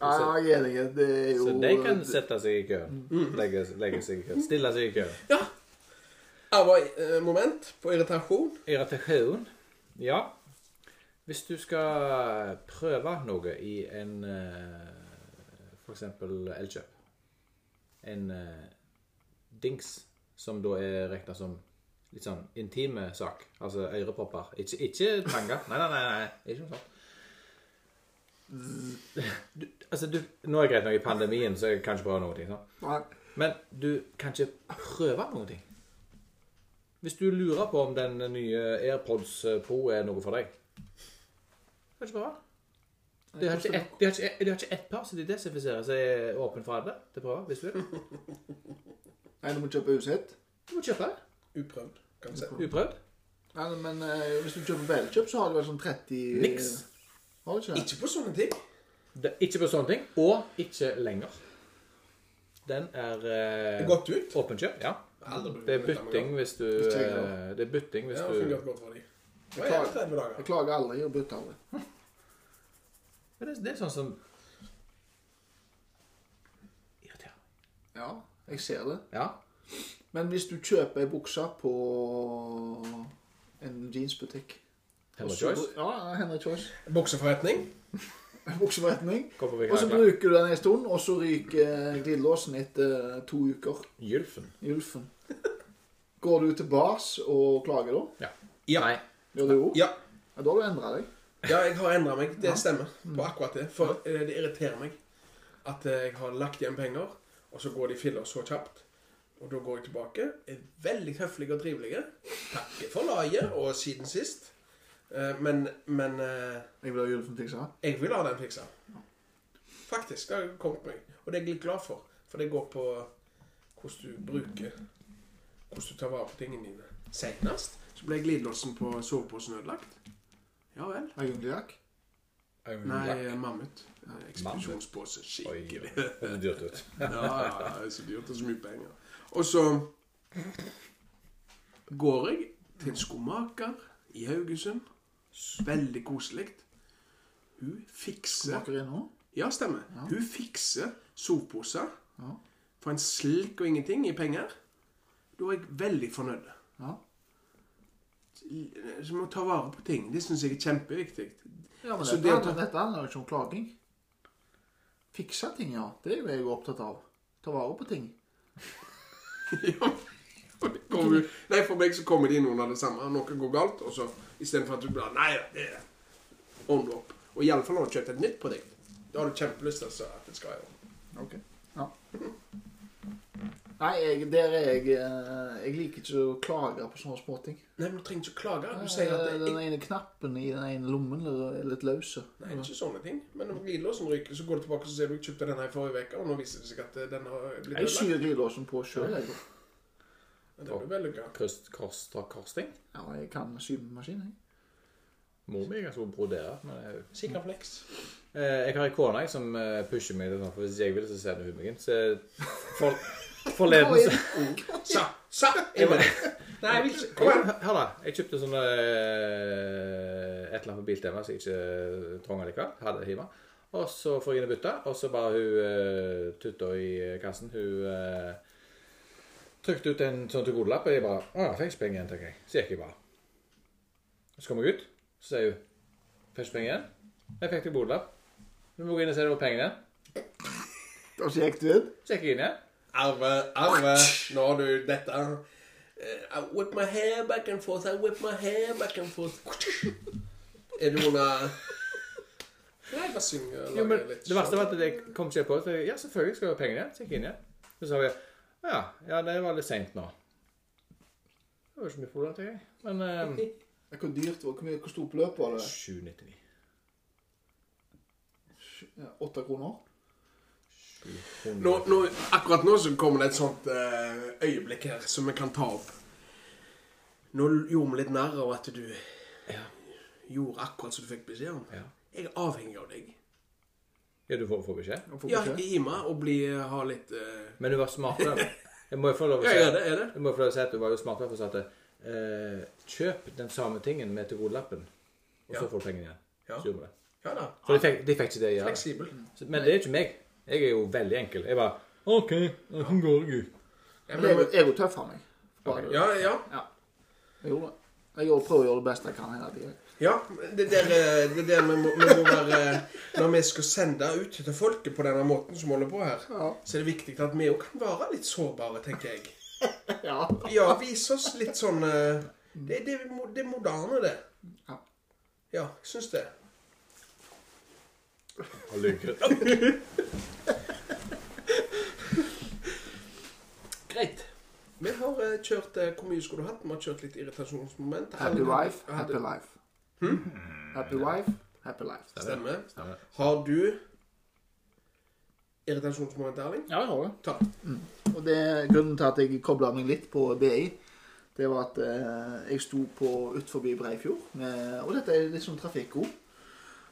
Speaker 3: Ja, jeg er enig. Det er jo
Speaker 2: Så de kan sette seg i kø. Legge, legge seg i kø. Stille seg i kø.
Speaker 1: ja. Jeg var eh, moment på irritasjon.
Speaker 2: Irritasjon. Ja. Hvis du skal prøve noe i en eh, For eksempel Elkjøp. En eh, dings som da er regna som litt sånn intime sak. Altså ørepropper. Ikke, ikke tanga. Nei, nei, nei. nei. Ikke noe sånt. Du, altså, du, nå er det greit nok i pandemien, så jeg kan ikke prøve noe. Sånn.
Speaker 3: Nei.
Speaker 2: Men du kan ikke prøve noen ting. Hvis du lurer på om den nye AirPods eh, Pro er noe for deg Kan ikke prøve. De har ikke ett de har ikke ett- de har ikke ett par som de desinfiserer seg er åpen for alle til å prøve. hvis Du vil.
Speaker 3: Nei, du må kjøpe usett.
Speaker 2: Du må kjøpe det.
Speaker 1: Uprøvd, kan jeg si.
Speaker 2: Uprøvd.
Speaker 3: Nei, men eh, hvis du kjøper velkjøp, så har du vel sånn 30
Speaker 2: Niks.
Speaker 3: Har du ikke det?
Speaker 1: Ikke på sånne ting.
Speaker 2: Det, ikke på sånne ting. Og ikke lenger. Den er
Speaker 1: Det
Speaker 2: eh,
Speaker 1: er Gått ut.
Speaker 2: åpen kjøp. Ja.
Speaker 1: Aldri blitt
Speaker 2: Det er
Speaker 1: benyttet meg
Speaker 2: bytting
Speaker 1: av.
Speaker 2: hvis du
Speaker 3: Ikke jeg, da.
Speaker 2: eh, Det er bytting hvis
Speaker 1: Ja, det har
Speaker 2: du
Speaker 1: fungert godt for dem. Det var jeg 30 dager.
Speaker 3: Jeg klager aldri og bytter aldri.
Speaker 2: Men det, det er sånn som Irriterer.
Speaker 3: Ja, jeg ser det.
Speaker 2: Ja.
Speaker 3: Men hvis du kjøper ei bukse på en jeansbutikk
Speaker 2: Heller
Speaker 3: og så-
Speaker 2: Choice.
Speaker 3: Ja, Henry Choice.
Speaker 1: Bokseforretning.
Speaker 3: Bukseforretning.
Speaker 2: Går på
Speaker 3: Og så
Speaker 2: Vikarklær.
Speaker 3: bruker du den en stund, og så ryker glidelåsen etter eh, to uker.
Speaker 2: Gylfen.
Speaker 3: i Ulfen. Går du til bars og klager da?
Speaker 1: Ja.
Speaker 2: Nei.
Speaker 3: Gjør du jo?
Speaker 1: Ja.
Speaker 3: Ja, da har du endra deg.
Speaker 1: ja, Mm. jeg har endra meg. Det stemmer på akkurat det. For eh, det irriterer meg at eh, jeg har lagt igjen penger, og så går de filler så kjapt. Og da går jeg tilbake. Er veldig høflige og trivelige. Takker for laget og siden sist. Eh, Men, men eh,
Speaker 3: Jeg vil ha Ulfen-fiksa.
Speaker 1: Jeg vil ha den fiksa. Faktisk. Det har jeg kommet meg. Og det er jeg litt glad for. For det går på hvordan du bruker Hvordan du tar vare på tingene dine. Senest så ble glidelåsen på soveposen ødelagt. Ja vel.
Speaker 3: Agungliak.
Speaker 1: Nei, eh, mammut. Nei, Ekspedisjonspose.
Speaker 2: Oi,
Speaker 1: Skikkelig.
Speaker 2: det høres dyrt ut.
Speaker 1: Ja, ja, ja, det er så dyrt og så mye penger. Og så går jeg til en skomaker i Haugesund. Veldig koselig. Hun fikser
Speaker 3: Smaker inn nå?
Speaker 1: Ja, stemmer. Hun fikser soveposer
Speaker 3: Ja.
Speaker 1: for en slikk og ingenting i penger. Da er jeg veldig fornøyd.
Speaker 3: Ja.
Speaker 1: Så må ta vare på ting. Det syns jeg er kjempeviktig.
Speaker 3: ja men
Speaker 1: Så
Speaker 3: dette,
Speaker 1: det å ta-
Speaker 3: dette handler jo ikke om klaging. Fikse ting, ja. Det er jo jeg opptatt av. Ta vare på ting.
Speaker 1: Ja, og det kommer jo- Nei, For meg så kommer de inn under det samme. Noe går galt, og så istedenfor at du blar Nei, det er ordne opp. Og iallfall når du har kjøpt et nytt produkt. Da har du kjempelyst til å si at det skal i orden.
Speaker 3: Ok. Ja. Nei, jeg, der er jeg eh, Jeg liker ikke å klage på sånne småting.
Speaker 1: Nei, men du trenger ikke å klage. Du sier at det er
Speaker 3: Den ene knappen i den ene lommen eh, er litt løse.
Speaker 1: Nei, ikke sånne ting. Men når glidelåsen ryker, så går du tilbake og ser du kjøpte den her i forrige uke, og nå viser det seg at eh, den har blitt
Speaker 3: Jeg
Speaker 1: ødelagt.
Speaker 3: skyr glidelåsen på sjøl, jeg.
Speaker 1: Det blir vellykka.
Speaker 2: Krøst, kors, ta korsting.
Speaker 3: Ja, jeg kan symaskin, jeg.
Speaker 2: Mor mi er ganske god på å brodere. Men jeg,
Speaker 1: Sikker flex.
Speaker 2: eh, jeg har en kone jeg, som eh, pusher meg til sånn, for hvis jeg vil, så sender hun meg inn. Så eh, for, forleden så
Speaker 1: Sa! Sa! Jeg var Nei, jeg vil ikke. Kom
Speaker 2: Hør
Speaker 1: igjen.
Speaker 2: hør da, jeg kjøpte sånne eh, et eller annet på Biltema som jeg ikke eh, trengte likevel. Hadde hjemme. Og så får jeg inn og bytte, og så bare hun eh, tutta i kassen. Hun eh, trykte ut en sånn til godelapp, og jeg bare Å ja, fikk jeg penger igjen, tenker jeg. Så gikk jeg bare. Så kom jeg ut, så sier hun Fikk du penger igjen? Jeg fikk til godelapp. Du må gå inn og se om det var penger igjen.
Speaker 3: Og så gikk du inn?
Speaker 2: Så gikk jeg inn igjen.
Speaker 1: Arve, arve, nå har du dette. Eh, I whip my hair back and forth, I whip my hair back and forth. Er du under Nei, bare syng og
Speaker 2: Jo, men
Speaker 1: lag litt. sånn.
Speaker 2: det verste var at jeg kom ikke på at jeg- Ja, selvfølgelig skal jeg ha pengene igjen. Så gikk jeg inn igjen. Så sa vi ja, ja, det var litt seint nå. Det var ikke så mye problem, tenker jeg. Men eh,
Speaker 3: Hvor dyrt var Hvor mye hvor stort beløp var det?
Speaker 2: 799.
Speaker 3: Ja, Åtte kroner?
Speaker 1: Nå, nå, akkurat nå så kommer det et sånt eh, øyeblikk her som vi kan ta opp. Nå l- gjorde vi litt narr av at du
Speaker 2: Ja.
Speaker 1: gjorde akkurat som du fikk beskjed om.
Speaker 2: Ja.
Speaker 1: Jeg er avhengig av deg.
Speaker 2: ja, du får, får beskjed?
Speaker 3: Jeg får
Speaker 1: Ja,
Speaker 3: beskjed.
Speaker 1: gi meg og bli, ha litt eh,
Speaker 2: Men du var smart da. Jeg må jo få lov å
Speaker 1: Ja,
Speaker 2: si
Speaker 1: er det, er det?
Speaker 2: Jeg må jo få lov å si at du var jo smart da, for at eh, Kjøp den samme tingen med til godelappen, og så
Speaker 1: Ja.
Speaker 2: får du pengene igjen.
Speaker 1: Ja.
Speaker 2: Så gjorde vi det.
Speaker 1: Ja da.
Speaker 2: For de fikk, de fikk ikke det igjen.
Speaker 1: Fleksibel.
Speaker 2: Så- Men det er ikke meg. Jeg er jo veldig enkel. Jeg bare OK, hvordan går det? Gud?
Speaker 1: Ja,
Speaker 3: Men
Speaker 1: men,
Speaker 3: Jeg er jo tøff av meg. Bare-
Speaker 2: Ok,
Speaker 1: ja, ja.
Speaker 3: Jeg gjorde det. Jeg gjorde- prøver å gjøre det beste jeg kan hele tiden.
Speaker 1: ja det der, eh, det der vi, må, vi må være eh, Når vi skal sende ut til folket på denne måten som vi holder på her,
Speaker 3: Ja.
Speaker 1: så er det viktig at vi òg kan være litt sårbare, tenker jeg.
Speaker 3: ja.
Speaker 1: Ja, vis oss litt sånn eh, Det, det, er mo- det er moderne, det.
Speaker 3: Ja.
Speaker 1: Ja, jeg syns det.
Speaker 2: Og lykke.
Speaker 1: Greit. Vi har eh, kjørt eh, Hvor mye skulle du hatt? Vi har kjørt litt irritasjonsmoment.
Speaker 3: Happy
Speaker 1: Alle-
Speaker 3: wife,
Speaker 1: hadde-
Speaker 3: happy life. Hm? Happy wife, happy life.
Speaker 1: Stemmer.
Speaker 2: Stemmer.
Speaker 1: Har du irritasjonsmoment, Erling?
Speaker 3: Ja, jeg har det.
Speaker 1: Ta.
Speaker 3: Og det, grunnen til at jeg kobla meg litt på BI, det var at eh, jeg sto på utenfor Breifjord. Med, og dette er litt sånn trafikkord.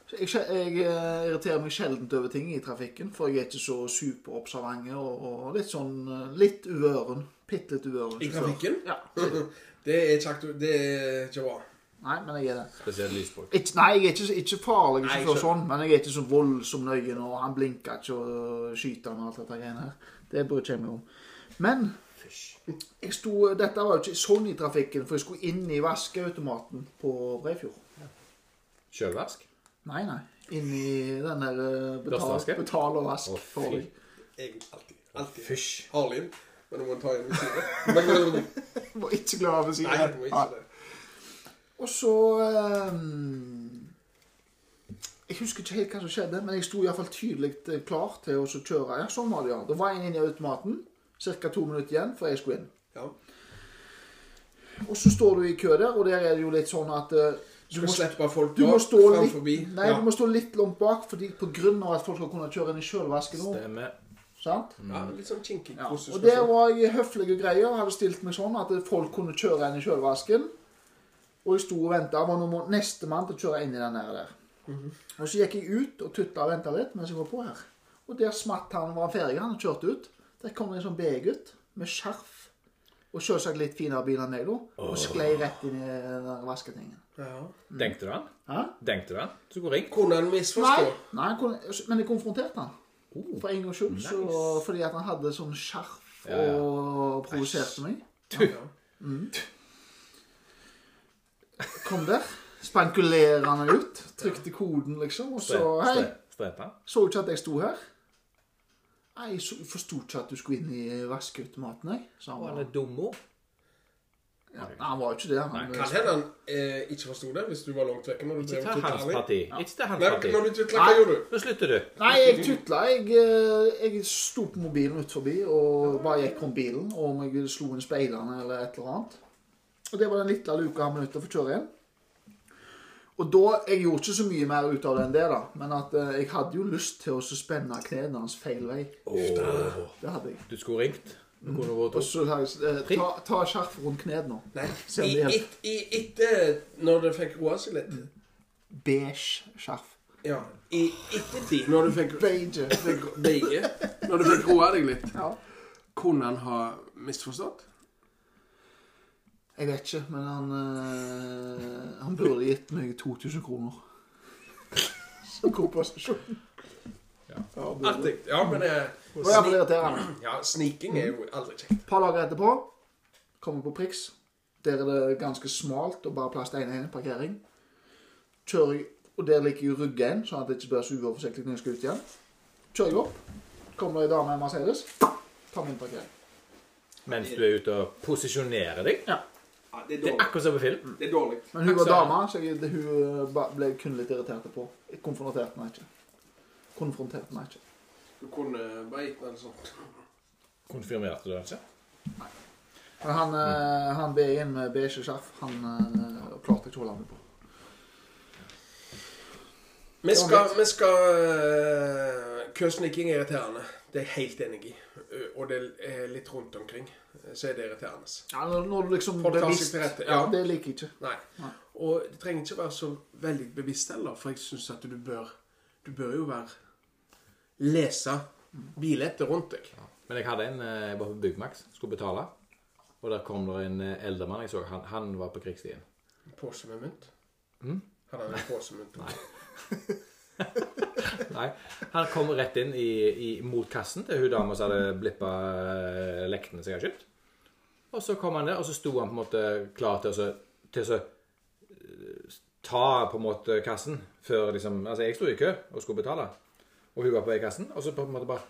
Speaker 3: Så jeg, skje- jeg eh, irriterer meg sjelden over ting i trafikken, for jeg er ikke så superobservant og, og litt sånn eh, litt uvøren. Bitte litt uvøren.
Speaker 1: I
Speaker 3: sjåfør.
Speaker 1: trafikken?
Speaker 3: Ja.
Speaker 1: Det er ikke aktu... Det er ikke bra.
Speaker 3: Nei, men jeg er det.
Speaker 2: Spesielt lysbok.
Speaker 3: Ikke, nei, jeg er ikke, så- ikke farlig
Speaker 1: Nei,
Speaker 3: sjåfør
Speaker 1: skjønner.
Speaker 3: sånn, men jeg er ikke så voldsom nøye nå. Han blinker ikke og skyter han og alt dette greiene her. Det bryr ikke jeg meg om. Men
Speaker 2: Fish.
Speaker 3: Jeg sto, dette var jo ikke Sogni-trafikken, for jeg skulle inn i vaskeautomaten på Breifjord.
Speaker 2: Sjølvask?
Speaker 3: Nei, nei. Inn i den der eh, betal,
Speaker 2: Børstevasker?
Speaker 3: betal og vask.
Speaker 2: Å, fy.
Speaker 3: for deg.
Speaker 1: Jeg alltid. alltid.
Speaker 2: Fish.
Speaker 1: Harlin. Men du må ta en ved siden.
Speaker 3: Var ikke glad for å si
Speaker 1: Nei, du må ikke det.
Speaker 3: Og så eh, Jeg husker ikke helt hva som skjedde, men jeg sto iallfall tydelig eh, klar til å så kjøre. Ja, sånn var det, ja. Da var jeg inne i automaten. Ca. to minutter igjen før jeg skulle inn.
Speaker 1: Ja.
Speaker 3: Og så står du i kø der, og der er det jo litt sånn at eh,
Speaker 1: Du må slippe folk
Speaker 3: Du må
Speaker 1: bak,
Speaker 3: stå
Speaker 1: fram
Speaker 3: litt,
Speaker 1: forbi.
Speaker 3: nei,
Speaker 1: ja.
Speaker 3: du må stå litt langt bak, fordi på grunn av at folk skal kunne kjøre inn i sjølvasken nå.
Speaker 2: Stemmer.
Speaker 3: sant?
Speaker 1: ja, litt sånn kinky.
Speaker 3: Ja.
Speaker 1: hvordan
Speaker 3: Og
Speaker 1: du
Speaker 3: der
Speaker 1: skal-
Speaker 3: var jeg høflig og grei og hadde stilt meg sånn at folk kunne kjøre inn i sjølvasken. Og jeg sto og venta. Var nå må- nestemann til å kjøre inn i den der. der. Og så gikk jeg ut og tutta og venta litt mens jeg var på her. Og der smatt han, var han ferdig, han og kjørte ut. Der kom det en sånn B-gutt med skjerf. Og selvsagt litt finere bil enn meg, da. Og sklei rett inn i den der vasketingen.
Speaker 1: ja.
Speaker 2: Denkte du han?
Speaker 3: Hæ?
Speaker 2: Denkte du han? Så går ring.
Speaker 1: Kunne han
Speaker 3: Nei,
Speaker 1: misforstå?
Speaker 3: nei han kunne, altså, men jeg konfronterte han. For en gangs skyld. så-
Speaker 2: Nice.
Speaker 3: Fordi at han hadde sånn skjerf
Speaker 2: Ja, ja.
Speaker 3: og provoserte meg.
Speaker 1: Ja.
Speaker 3: Kom der. Spankulerer han ut. Trykte koden, liksom. Og så Hei,
Speaker 2: Strepa?
Speaker 3: så du ikke at jeg sto her? Nei, jeg så- forsto ikke at du skulle inn i vaskeautomaten, jeg. Så han,
Speaker 2: Å, han
Speaker 3: var,
Speaker 2: er dummo.
Speaker 3: ja, nei, han var jo ikke det. Han,
Speaker 1: Kan hende han eh, ikke forsto det hvis du var langt vekke. når du
Speaker 2: Ikke
Speaker 1: drev
Speaker 2: ta
Speaker 1: og tutla
Speaker 2: hans
Speaker 1: han i.
Speaker 2: parti. Ikke ta hans
Speaker 1: Nei,
Speaker 2: parti.
Speaker 1: når du tutla, hva gjorde du?
Speaker 2: Nå slutter du.
Speaker 3: Nei, jeg tutla. Jeg, eh, jeg sto på mobilen ut forbi og bare gikk rundt bilen. Og om jeg slo inn speilene eller et eller annet. Og det var den lille luka han var nødt til å få kjøre inn. Og da, Jeg gjorde ikke så mye mer ut av det enn det, da. Men at eh, jeg hadde jo lyst til å så spenne knærne hans feil vei.
Speaker 2: Åh.
Speaker 3: Det hadde jeg.
Speaker 2: Du skulle ringt. Du kunne vært
Speaker 3: Og så sa jeg eh, ta, ta skjerfet rundt knærne.
Speaker 1: Nei,
Speaker 3: Se om
Speaker 1: i,
Speaker 3: det hjelper.
Speaker 1: et- i, etter når du fikk roa seg litt
Speaker 3: Beige skjerf.
Speaker 1: Ja, i ettertid, når du fikk
Speaker 3: Beige.
Speaker 1: fikk begge Når du fikk roa deg litt,
Speaker 3: Ja.
Speaker 1: kunne han ha misforstått?
Speaker 3: Jeg vet ikke, men han eh, Han burde gitt meg 2000 kroner. Som kompensasjon.
Speaker 2: Ja.
Speaker 3: Ja, burde.
Speaker 1: Alltid. Ja, men det
Speaker 3: Det var iallfall irriterende.
Speaker 1: Ja, sniking er jo aldri kjekt.
Speaker 3: Et par dager etterpå kommer jeg på Prix. Der er det ganske smalt og bare plass til én ene parkering. Kjører jeg, og der ligger jeg rygga inn, sånn at det ikke blir så uoversiktlig når jeg skal ut igjen. Kjører jeg opp, kommer det ei dame i Mercedes, tar min parkering.
Speaker 2: Mens du er ute og posisjonerer deg.
Speaker 3: Ja.
Speaker 1: Ja, det
Speaker 2: Det er akkurat som på film.
Speaker 1: Det er dårlig.
Speaker 3: Men hun var
Speaker 2: Takk, Sara.
Speaker 3: dame, så jeg, det, hun eh, ba- ble jeg kun litt irritert på. Jeg konfronterte meg ikke. Konfronterte meg ikke.
Speaker 1: Du kunne bare gitt den sånn.
Speaker 2: Konfirmerte du altså? det ikke?
Speaker 3: Men han, mm. han B1 med beige skjerf, han eh, klarte jeg ikke å holde meg på.
Speaker 1: Vi skal, vi skal øh, Køsniking er irriterende. Det er jeg helt enig i. Øh, Og det er litt rundt omkring, eh, så er det irriterende.
Speaker 3: Ja, når, når du liksom
Speaker 1: Folk tar seg
Speaker 3: bevisst-
Speaker 1: til rette,
Speaker 3: Ja,
Speaker 1: ja.
Speaker 3: det liker jeg ikke.
Speaker 1: Nei.
Speaker 3: Nei.
Speaker 1: Og det trenger ikke være så veldig bevisst heller, for jeg syns at du bør Du bør jo være Lese bildet rundt deg.
Speaker 2: Men jeg hadde en eh, jeg var på Byggmax, skulle betale. Og der kom det en eh, eldre mann jeg så. Han, han var på krigsstien.
Speaker 1: En pose med mynt?
Speaker 2: Mm.
Speaker 1: Hadde han en pose med mynt?
Speaker 2: Nei. Nei. Han kom rett inn i, i, mot kassen til hun dama som hadde blippa eh, lektene som jeg hadde kjøpt. Og så kom han der, og så sto han på en måte klar til å så- til å så, eh, ta på en måte kassen før liksom Altså, jeg sto i kø og skulle betale, og hun var på vei i kassen, og så på en måte bare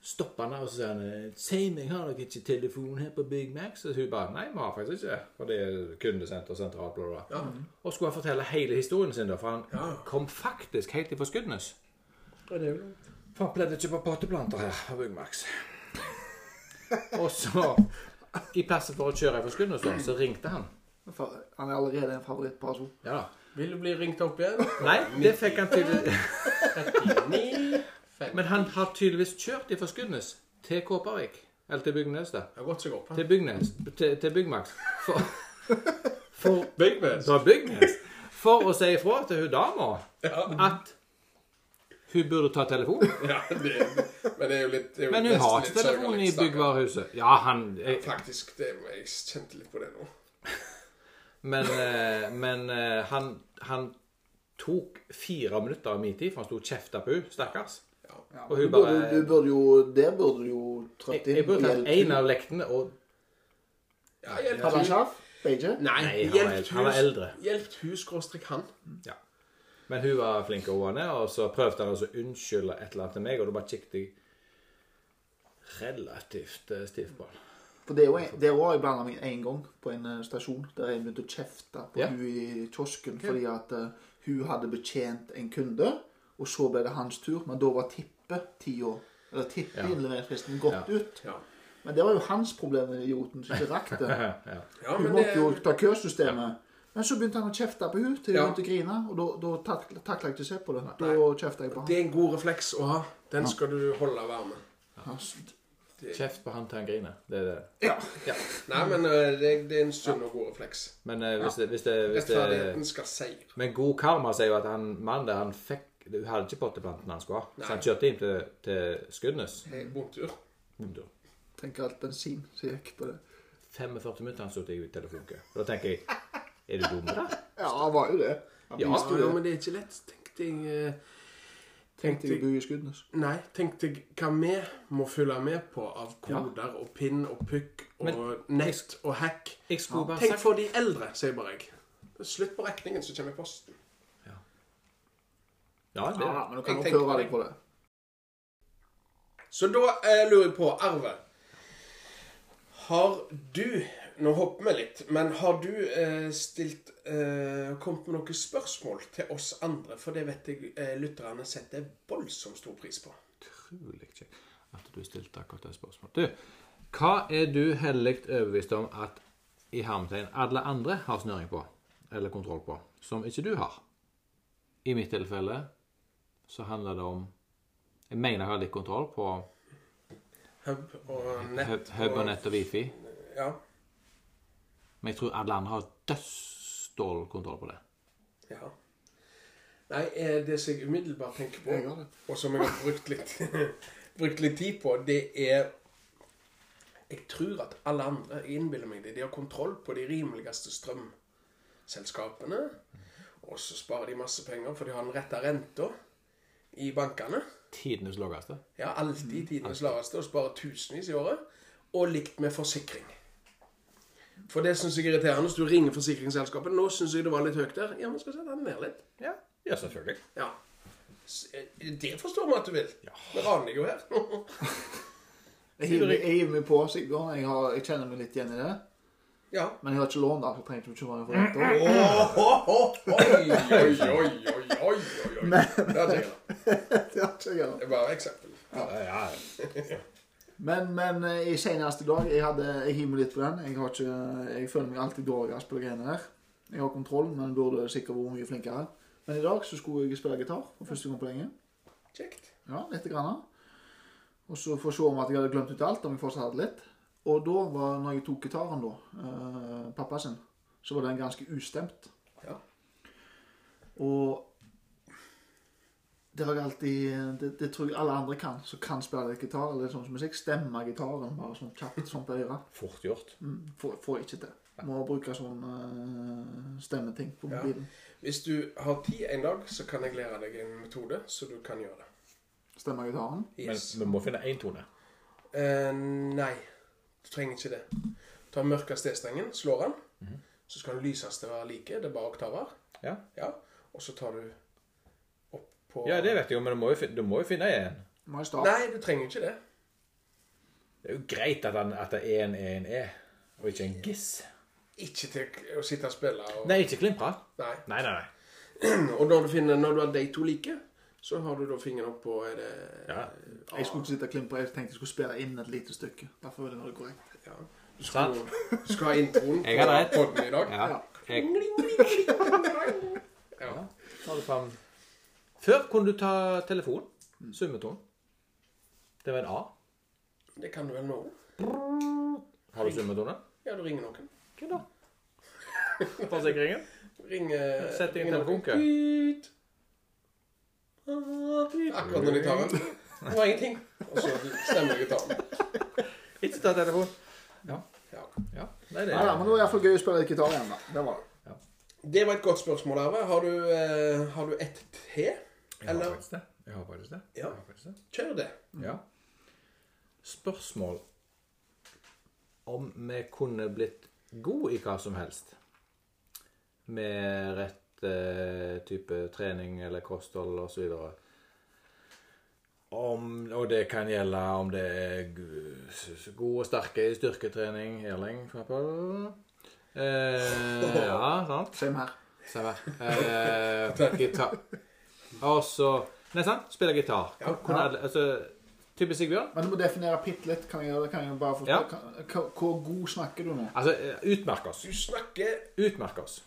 Speaker 2: stopper han der og så sier han eh, 'Si meg, har dere ikke telefon her på Big Max?' Og hun bare 'Nei, vi har faktisk ikke For det er kundesenter, sentralt, bla, bla, bla.' Og skulle han fortelle hele historien sin, da, for han
Speaker 1: Ja.
Speaker 2: kom faktisk helt ifra Skudenes.
Speaker 1: Ja, det er jo langt.
Speaker 2: For han pleide ikke på potteplanter her på Big Max. og så, i plassen for å kjøre ifra Skudenes, da, så ringte han.
Speaker 3: For Han er allerede en favorittperson.
Speaker 2: Ja da.
Speaker 1: Vil du bli ringt opp igjen?
Speaker 2: Nei, det fikk han tydeligvis
Speaker 1: 39 50.
Speaker 2: Men han har tydeligvis kjørt ifra Skudenes til Kåpervik. Eller til Bygnes, da.
Speaker 1: Det har gått seg opp.
Speaker 2: Til Bygnes. Til, til Byggmax. For, for
Speaker 1: Bygnes.
Speaker 2: fra Bygnes for å si ifra til hun dama
Speaker 1: Ja.
Speaker 2: at hun burde ta telefonen.
Speaker 1: Ja, det er, men det er jo litt det er jo
Speaker 2: Men hun
Speaker 1: nesten
Speaker 2: har
Speaker 1: litt
Speaker 2: ikke telefonen
Speaker 1: sørgelig,
Speaker 2: i
Speaker 1: stakkar.
Speaker 2: byggvarehuset. Ja, han jeg,
Speaker 1: Faktisk, det, jeg kjente litt på det nå.
Speaker 2: Men, eh, men eh, han, han tok fire minutter av min tid, for han sto og kjefta på hun, stakkars.
Speaker 1: Ja.
Speaker 3: Ja,
Speaker 2: Og
Speaker 3: du,
Speaker 2: hun
Speaker 3: burde,
Speaker 2: bare-
Speaker 3: du burde jo Der burde du jo
Speaker 2: Jeg,
Speaker 3: trøtt inn
Speaker 2: jeg burde tatt
Speaker 3: hjelp til.
Speaker 2: en av lektene og
Speaker 1: ja hjelp
Speaker 3: Hadde han
Speaker 1: hus.
Speaker 3: sjarf? Beige?
Speaker 1: Nei,
Speaker 2: Nei, han
Speaker 1: hjelp
Speaker 2: var eldre. Han var
Speaker 1: hus.
Speaker 2: eldre.
Speaker 1: Hjelp hus, skråstrek han.
Speaker 2: Men hun var flink og roende, og så prøvde han også å unnskylde et eller annet til meg, og da bare kikket jeg relativt eh, stivt på han.
Speaker 3: For det er jo en- Der var jeg blanda meg en gang på en eh, stasjon der jeg begynte å kjefte på
Speaker 2: Ja.
Speaker 3: hun i kiosken fordi at eh, hun hadde betjent en kunde, og så ble det hans tur, men da var tippet tida Eller tippet
Speaker 2: Ja.
Speaker 3: innleveringsfristen gått ut.
Speaker 1: Ja.
Speaker 3: Men det var jo hans problem, den idioten som ikke rakk det.
Speaker 2: ja.
Speaker 1: Ja,
Speaker 3: Hun
Speaker 1: men
Speaker 3: måtte jo
Speaker 1: det,
Speaker 3: ta køsystemet. Men så begynte han å kjefte på hun til hun
Speaker 1: Ja.
Speaker 3: begynte å grine, og da- da takla takla jeg ikke å se på det. Da kjefta jeg på
Speaker 1: det
Speaker 3: han.
Speaker 1: er en god refleks å ha. Den skal du holde varme.
Speaker 3: Han-
Speaker 2: Kjeft på han til han griner. Det er det.
Speaker 3: Ja.
Speaker 1: Nei, men eh, det, det er en sunn og god refleks.
Speaker 2: Men eh, hvis det, hvis det, hvis det
Speaker 1: Rettferdigheten skal seire.
Speaker 2: Men god karma sier jo at han mannen der, han fikk Hun hadde ikke potteplanten han skulle ha, så han kjørte inn til, til Skudenes.
Speaker 1: Eh, Bomtur.
Speaker 3: Tenker alt bensin som gikk på det.
Speaker 2: 45 minutter han stod i telefonkø. Og Da tenker jeg Er du dum, da?
Speaker 3: Ja, han var jo det. Han
Speaker 2: Ja,
Speaker 3: viste
Speaker 1: Ja,
Speaker 3: jo det.
Speaker 1: ja, men det er ikke lett. Tenk deg eh,
Speaker 3: Tenkte jeg å bo i Skudenes.
Speaker 1: Nei, tenk deg hva vi må følge med på av koder og pinn og pukk og nett og hack.
Speaker 2: Jeg skulle bare
Speaker 1: Tenk
Speaker 2: sagt
Speaker 1: for de eldre, sier bare jeg. Slutt på regningen, så kommer posten.
Speaker 2: Ja, det
Speaker 3: Ja, men du kan
Speaker 1: Jeg
Speaker 3: nok
Speaker 1: tenker
Speaker 3: høre
Speaker 1: på
Speaker 3: deg på det.
Speaker 1: Så da eh, lurer jeg på, Arve Har du Nå hopper vi litt, men har du eh, stilt eh, kommet med noen spørsmål til oss andre? For det vet jeg eh, lytterne setter voldsomt stor pris på.
Speaker 2: utrolig kjekt at du stilte akkurat det spørsmålet. Du, hva er du hellig overbevist om at i hermetegn alle andre har snøring på, eller kontroll på, som ikke du har? I mitt tilfelle så handler det om Jeg mener jeg har litt kontroll på
Speaker 1: Hub og nett.
Speaker 2: hub, hub og nett og wifi,
Speaker 1: Ja.
Speaker 2: men jeg tror alle andre har dødsdårlig kontroll på det.
Speaker 1: ja. Nei, eh, det som jeg umiddelbart tenker på,
Speaker 3: Jeg har det.
Speaker 1: og som jeg har brukt litt, brukt litt tid på, det er Jeg tror at alle andre jeg innbiller meg det. De har kontroll på de rimeligste strømselskapene. Og så sparer de masse penger, for de har den rette renta i bankene.
Speaker 2: Tidenes laveste.
Speaker 1: Ja,
Speaker 3: Mm.
Speaker 1: alltid tidenes laveste, og sparer tusenvis i året. Og likt med forsikring. For det syns jeg er irriterende. Hvis du ringer forsikringsselskapet Nå syns jeg det var litt høyt der. Ja, men skal vi sette den ned litt.
Speaker 2: Ja, ja, selvfølgelig.
Speaker 1: Ja. S- eh, Det forstår vi at du vil. Vi raner deg jo her.
Speaker 3: Jeg hiver meg- jeg hiver meg på Sigurd. Jeg, har, jeg kjenner meg litt igjen i det.
Speaker 1: ja.
Speaker 3: Men jeg har ikke lånt alt. Jeg trenger ikke bekymre meg for dette.
Speaker 1: Oi, oi, oi, oi, oi, oi. oi. Det er sikkert.
Speaker 3: Det har ikke jeg gjort.
Speaker 1: Det er bare et eksempel.
Speaker 2: Ja,
Speaker 3: Men, men eh, i seneste dag Jeg, hadde, jeg hiver meg litt på den. Jeg, har ikke, jeg føler meg alltid dårligst på de greiene der. Jeg har kontroll, men burde sikkert vært mye flinkere. Men i dag så skulle jeg spille gitar for første gang på lenge.
Speaker 1: Kjekt.
Speaker 3: Ja, lite grann. Og så for å se om at jeg hadde glemt ut alt, om jeg fortsatt hadde litt. Og da, var, når jeg tok gitaren da, eh, pappa sin, så var den ganske ustemt.
Speaker 1: Ja.
Speaker 3: Og det har jeg alltid det, det tror jeg alle andre kan, som kan spille litt gitar, eller sånn som musikk. Stemme gitaren bare sånn kjapt sånn på øret.
Speaker 2: Fort gjort.
Speaker 3: Mm, får, får jeg ikke til. Må bruke sånn eh, stemmeting på
Speaker 1: Ja.
Speaker 3: mobilen.
Speaker 1: Hvis du har tid en dag, så kan jeg lære deg en metode, så du kan gjøre det.
Speaker 3: Stemme gitaren.
Speaker 1: Yes.
Speaker 2: vi må finne én tone.
Speaker 1: Eh, nei, du trenger ikke det. Ta mørkeste E-stengen, slår den.
Speaker 2: Mhm.
Speaker 1: Så skal den lyseste være like. Det er bare oktaver.
Speaker 2: Ja.
Speaker 1: Ja. Og så tar du opp på
Speaker 2: ja, det vet jeg jo, men du må jo, fin- du må jo finne en.
Speaker 3: Må jeg starte?
Speaker 1: Nei, du trenger ikke det.
Speaker 2: Det er jo greit at, han, at det er en er en er, og ikke en giss.
Speaker 1: Ikke til å sitte og spille og
Speaker 2: Nei, ikke klimpra.
Speaker 1: Nei.
Speaker 2: Nei, nei, nei.
Speaker 1: Og når du, finner, når du har de to like, så har du da fingeren opp på er det,
Speaker 2: Ja.
Speaker 3: Jeg skulle ikke sitte og klimpre, jeg tenkte jeg skulle spille inn et lite stykke. Derfor ville jeg ha det korrekt.
Speaker 1: ja. Du skal, du skal ha introen
Speaker 2: Jeg hadde
Speaker 1: på
Speaker 2: rett.
Speaker 1: podden i dag.
Speaker 2: Ja. Jeg
Speaker 1: Ja.
Speaker 2: tar det fram. Før kunne du ta telefon. Summeton. Det var en A.
Speaker 1: Det kan du vel nå?
Speaker 2: Har du summetone?
Speaker 1: Ja, du ringer noen.
Speaker 2: Hva da? Forsikringen?
Speaker 1: Ring eh,
Speaker 2: Sett inn
Speaker 1: ring noen.
Speaker 2: telefonken.
Speaker 1: Pyt. Akkurat når de tar den. Det var ingenting. Og så stemmer gitaren.
Speaker 2: Ikke ta telefon.
Speaker 1: Ja.
Speaker 2: Ja, nei, det
Speaker 3: Ja, ja, men det var iallfall gøy å spille litt gitar igjen, da. Det var det.
Speaker 1: Det var et godt spørsmål, Arve. Har du, eh, har du ett til?
Speaker 2: Jeg har
Speaker 1: Eller
Speaker 2: faktisk det. Jeg har faktisk det.
Speaker 1: Ja.
Speaker 2: Jeg har faktisk det.
Speaker 1: Kjør det.
Speaker 2: Ja. Spørsmål om vi kunne blitt god i hva som helst med rett eh, type trening eller kosthold osv. Om, og det kan gjelde om det er gu- s- god og sterke i styrketrening, Erling for eksempel. Eh, ja, sant?
Speaker 3: Same her.
Speaker 2: Samme. Eh, gitar. Og så Nei, sant? Spiller gitar.
Speaker 1: Ja.
Speaker 2: Kunne alle, altså, typisk Sigbjørn.
Speaker 3: Men du må definere bitte litt. Kan jeg gjøre det? Kan jeg bare få
Speaker 2: Ja.
Speaker 3: kan, hva- Hvor god snakker du nå?
Speaker 2: Altså, eh, utmerk oss.
Speaker 1: Du snakker
Speaker 2: Utmerk oss.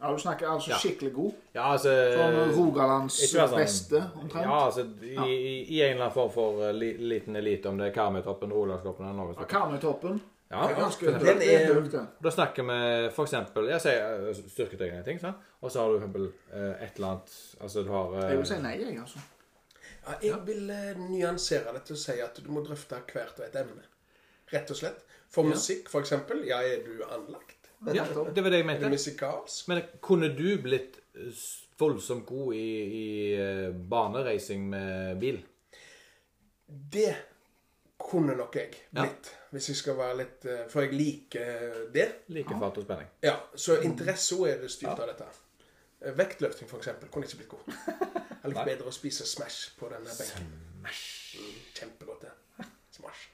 Speaker 3: Ja, du snakker altså
Speaker 2: Ja.
Speaker 3: skikkelig god.
Speaker 2: Ja, altså
Speaker 3: Sånn
Speaker 1: Eh,
Speaker 3: Rogalands
Speaker 2: ikke vær sånn-
Speaker 3: beste, omtrent.
Speaker 2: Ja, altså, i, i, I en eller annen form for eh, li, liten elite, om det er Karmøytoppen, Rolandskoppen eller
Speaker 3: Ja.
Speaker 2: noe sånt.
Speaker 3: Karmøytoppen.
Speaker 2: Ja,
Speaker 3: Det er ganske
Speaker 1: Den
Speaker 3: høyt. Det er
Speaker 1: er-
Speaker 3: høyt, det.
Speaker 2: Da snakker vi for eksempel Jeg sier eh, styrketrening og ting, sant? og så har du for eksempel eh, et eller annet Altså, du har eh,
Speaker 3: Jeg vil si nei, jeg, altså.
Speaker 1: Ja, jeg vil eh, nyansere det til å si at du må drøfte hvert og et emne. Rett og slett. For musikk, for eksempel. Ja, er du anlagt?
Speaker 2: Ja, det var det jeg
Speaker 1: Er du
Speaker 2: mente.
Speaker 1: musikalsk?
Speaker 2: Men kunne du blitt eh, s- voldsomt god i, i eh, banereising med bil?
Speaker 1: Det kunne nok jeg blitt. Hvis jeg skal være litt eh, For jeg liker eh, det.
Speaker 2: Like fart og spenning.
Speaker 1: Ja, Så interesse også er det styrt av dette. Eh, Vektløfting, for eksempel, kunne jeg ikke blitt god. Jeg likte bedre å spise Smash på denne benken. Smash. Kjempegodt, det. Smash.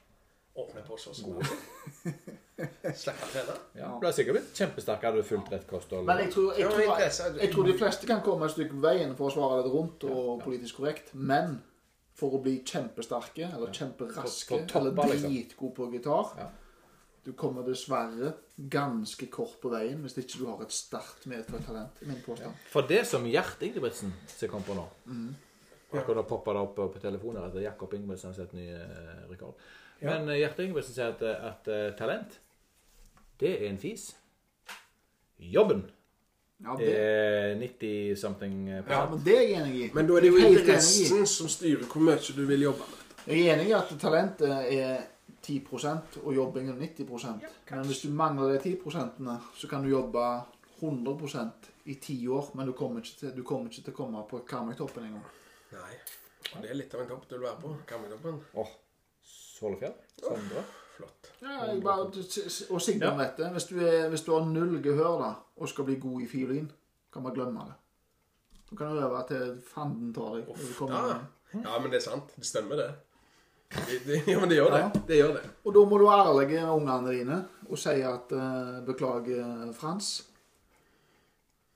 Speaker 1: Åpne på så smash. Slippe å trene.
Speaker 2: Ja, du har sikkert blitt kjempesterk hadde du fulgt rett kosthold.
Speaker 3: Men jeg tror, jeg,
Speaker 1: Ja, men
Speaker 3: tror,
Speaker 1: interesse er-
Speaker 3: jeg tror de fleste kan komme et stykke veien for å svare litt rundt og politisk korrekt, men for å bli kjempesterke eller
Speaker 2: For-
Speaker 3: kjemperaske
Speaker 2: for topper,
Speaker 3: eller
Speaker 2: liksom.
Speaker 3: dritgod på gitar
Speaker 2: Ja.
Speaker 3: Du kommer dessverre ganske kort på veien hvis ikke du har et sterkt medfødt talent. i min påstand.
Speaker 2: For det som Gjert Ingebrigtsen som kom på nå
Speaker 3: Mm.
Speaker 2: Akkurat poppa det opp på telefonen at Jakob Ingebrigtsen har sett ny eh, rekord. Men eh, Gjert Ingebrigtsen sier at, eh, at eh, talent, det er en fis. Jobben
Speaker 3: Ja, det,
Speaker 2: er 90 something
Speaker 3: ja,
Speaker 2: prosent.
Speaker 3: men det er jeg enig i.
Speaker 1: Eh, Men da er det jo
Speaker 3: Helt enig i.
Speaker 1: interessen som styrer hvor mye du vil jobbe med.
Speaker 3: Jeg er enig i at talentet er 10 og jobbing er 90 Men hvis du mangler de 10 så kan du jobbe 100 i ti år, men du kommer ikke til, du kommer ikke til å komme på Karmøytoppen engang.
Speaker 1: Nei. Og det er litt av en topp du vil være på. Kammerjobben.
Speaker 2: Åh, Solefjell? Sondre?
Speaker 1: Flott.
Speaker 3: Ja, jeg bare, og Sigbjørn vet det. Hvis du, er, hvis du har null gehør da, og skal bli god i fiolin, kan man glemme det. Du kan øve til fanden tar deg. når du kommer
Speaker 1: Ja.
Speaker 3: inn.
Speaker 1: ja, men det er sant. Det stemmer, det. Det, det. Ja, men det gjør det. Det gjør det.
Speaker 3: Og da må du være ærlig med ungene dine og si at eh, 'beklager, Frans'.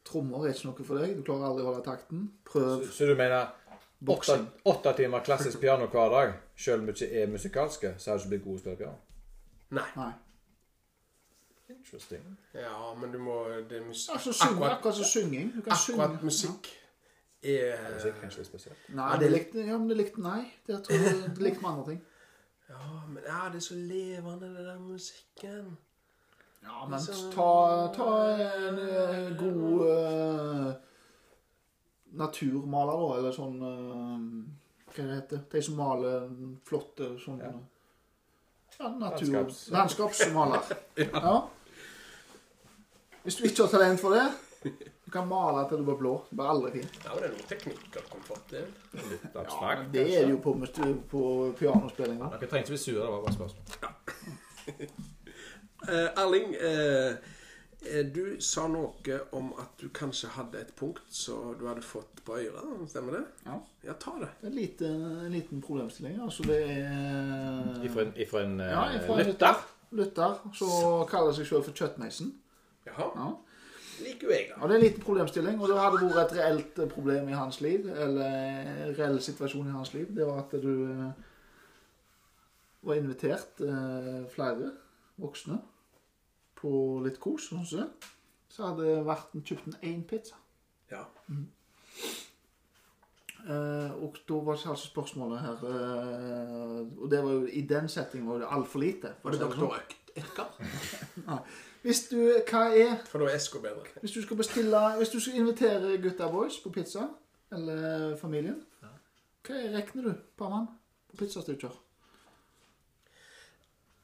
Speaker 3: Trommer er ikke noe for deg. Du klarer aldri å holde takten. Prøv
Speaker 2: Så du mener åtte,
Speaker 3: boksing.
Speaker 2: åtte timer klassisk piano hver dag, selv om du ikke er musikalske, så har du ikke blitt god til å spille piano?
Speaker 1: Nei.
Speaker 3: Nei.
Speaker 2: Interesting.
Speaker 1: Ja, men du må Det er musikk.
Speaker 3: Altså, syng, akkurat, som synging. Du kan
Speaker 1: Akkurat
Speaker 3: synge.
Speaker 1: musikk er
Speaker 2: Musikk er kanskje litt spesielt.
Speaker 3: Nei, det likte ja, men det likte Nei. Det, tror jeg, det likte med andre ting.
Speaker 1: Ja, men ja, det er så levende, den der musikken.
Speaker 3: Ja, men ta, ta en eh, god eh, naturmaler, da. Eller sånn eh, Hva det heter De som maler flotte sånn ja. natur...
Speaker 2: Landskaps-
Speaker 3: Landskapsmaler. ja. Hvis du ikke har talent for det Du kan male til du blir blå. Det blir aldri fint.
Speaker 1: Ja, men det er noen teknikker du kan få til.
Speaker 2: Litt abstrakt.
Speaker 3: Det er det jo på, på pianospillinga.
Speaker 2: Dere trenger ikke bli sure, det var bare et spørsmål.
Speaker 1: Eh, Erling, eh, eh, du sa noe om at du kanskje hadde et punkt som du hadde fått på øret. Stemmer det?
Speaker 3: Ja.
Speaker 1: Ja, ta det.
Speaker 3: En liten, en liten problemstilling. Altså det er
Speaker 2: Ifra en, ifra en eh,
Speaker 3: Ja, ifra en
Speaker 2: lytter?
Speaker 3: lytter som kaller seg selv for Kjøttmeisen.
Speaker 1: Jaha.
Speaker 3: Ja.
Speaker 1: Liker jo jeg, da.
Speaker 3: Ja, det er en liten problemstilling, og det hadde vært et reelt problem i hans liv, eller en reell situasjon i hans liv, det var at du eh, var invitert eh, flere voksne på litt kos, sånn som det. Så hadde det vært en kjøpt en én pizza.
Speaker 1: Ja.
Speaker 3: Eh, og da var ikke altså spørsmålet her eh, Og det var jo, i den settingen var det altfor lite.
Speaker 1: Var det
Speaker 3: Så- sånn,
Speaker 1: doktor Edgar?
Speaker 3: Hvis du, hva er
Speaker 1: For da er SK bedre.
Speaker 3: Hvis du skal bestille Hvis du skal invitere gutta boys på pizza, eller familien, hva regner du per mann på pizzastykker?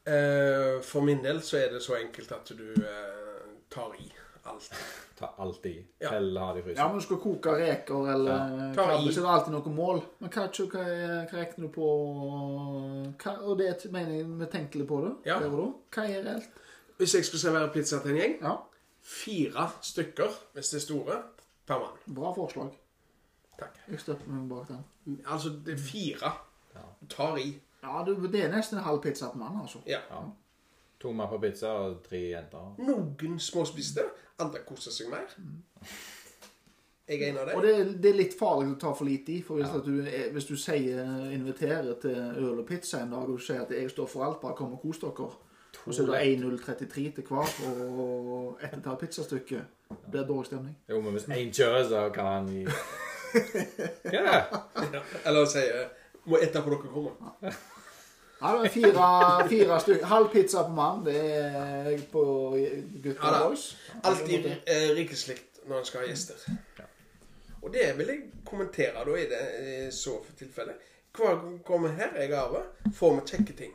Speaker 1: Eh, for min del så er det så enkelt at du eh, tar i alt.
Speaker 2: Ta alt i.
Speaker 1: Ja.
Speaker 2: Eller ha det i
Speaker 3: Ja,
Speaker 2: frysen.
Speaker 3: men du skal koke reker eller eh,
Speaker 1: Ta
Speaker 3: krabbe,
Speaker 1: i.
Speaker 3: så er det alltid noe mål. Men hva, hva, hva regner du på hva, Og det er- mener jeg vi tenker litt på det.
Speaker 1: Ja.
Speaker 3: der og da. Hva er reelt?
Speaker 1: Hvis jeg skulle servere pizza til en gjeng
Speaker 3: Ja,
Speaker 1: Fire stykker, hvis det er store, per mann.
Speaker 3: bra forslag.
Speaker 1: Takk.
Speaker 3: Jeg støtter meg bak den.
Speaker 1: Altså, det er fire.
Speaker 2: Ja.
Speaker 1: Du Tar i.
Speaker 3: Ja, du, det er nesten en halv pizza på mann, altså.
Speaker 1: Ja.
Speaker 2: Ja. To mann på pizza og tre jenter.
Speaker 1: Noen småspiste, andre koser seg mer. Jeg er en av dem.
Speaker 3: Og det, er- det er litt farlig å ta for lite i. For hvis, at du, er- hvis du sier inviterer til øl og pizza en dag, og du sier at jeg står for alt, bare kom og kos dere, og så er det 1,033 til hver, og ett og et halvt pizzastykke, det blir dårlig stemning.
Speaker 2: Jo, men hvis én kjører, så kan han gi Ja, det.
Speaker 1: Ja. Eller sier Må ete på dere kommer.
Speaker 3: Ja, det er fire, fire stykker. Halv pizza på mann, det er på gutta
Speaker 1: Ja, da.
Speaker 3: boys.
Speaker 1: Alltid eh, rikeslikt når en skal ha gjester. Og det vil jeg kommentere da i det eh, så tilfelle. Hver gang vi kommer her jeg arver, får vi kjekke ting.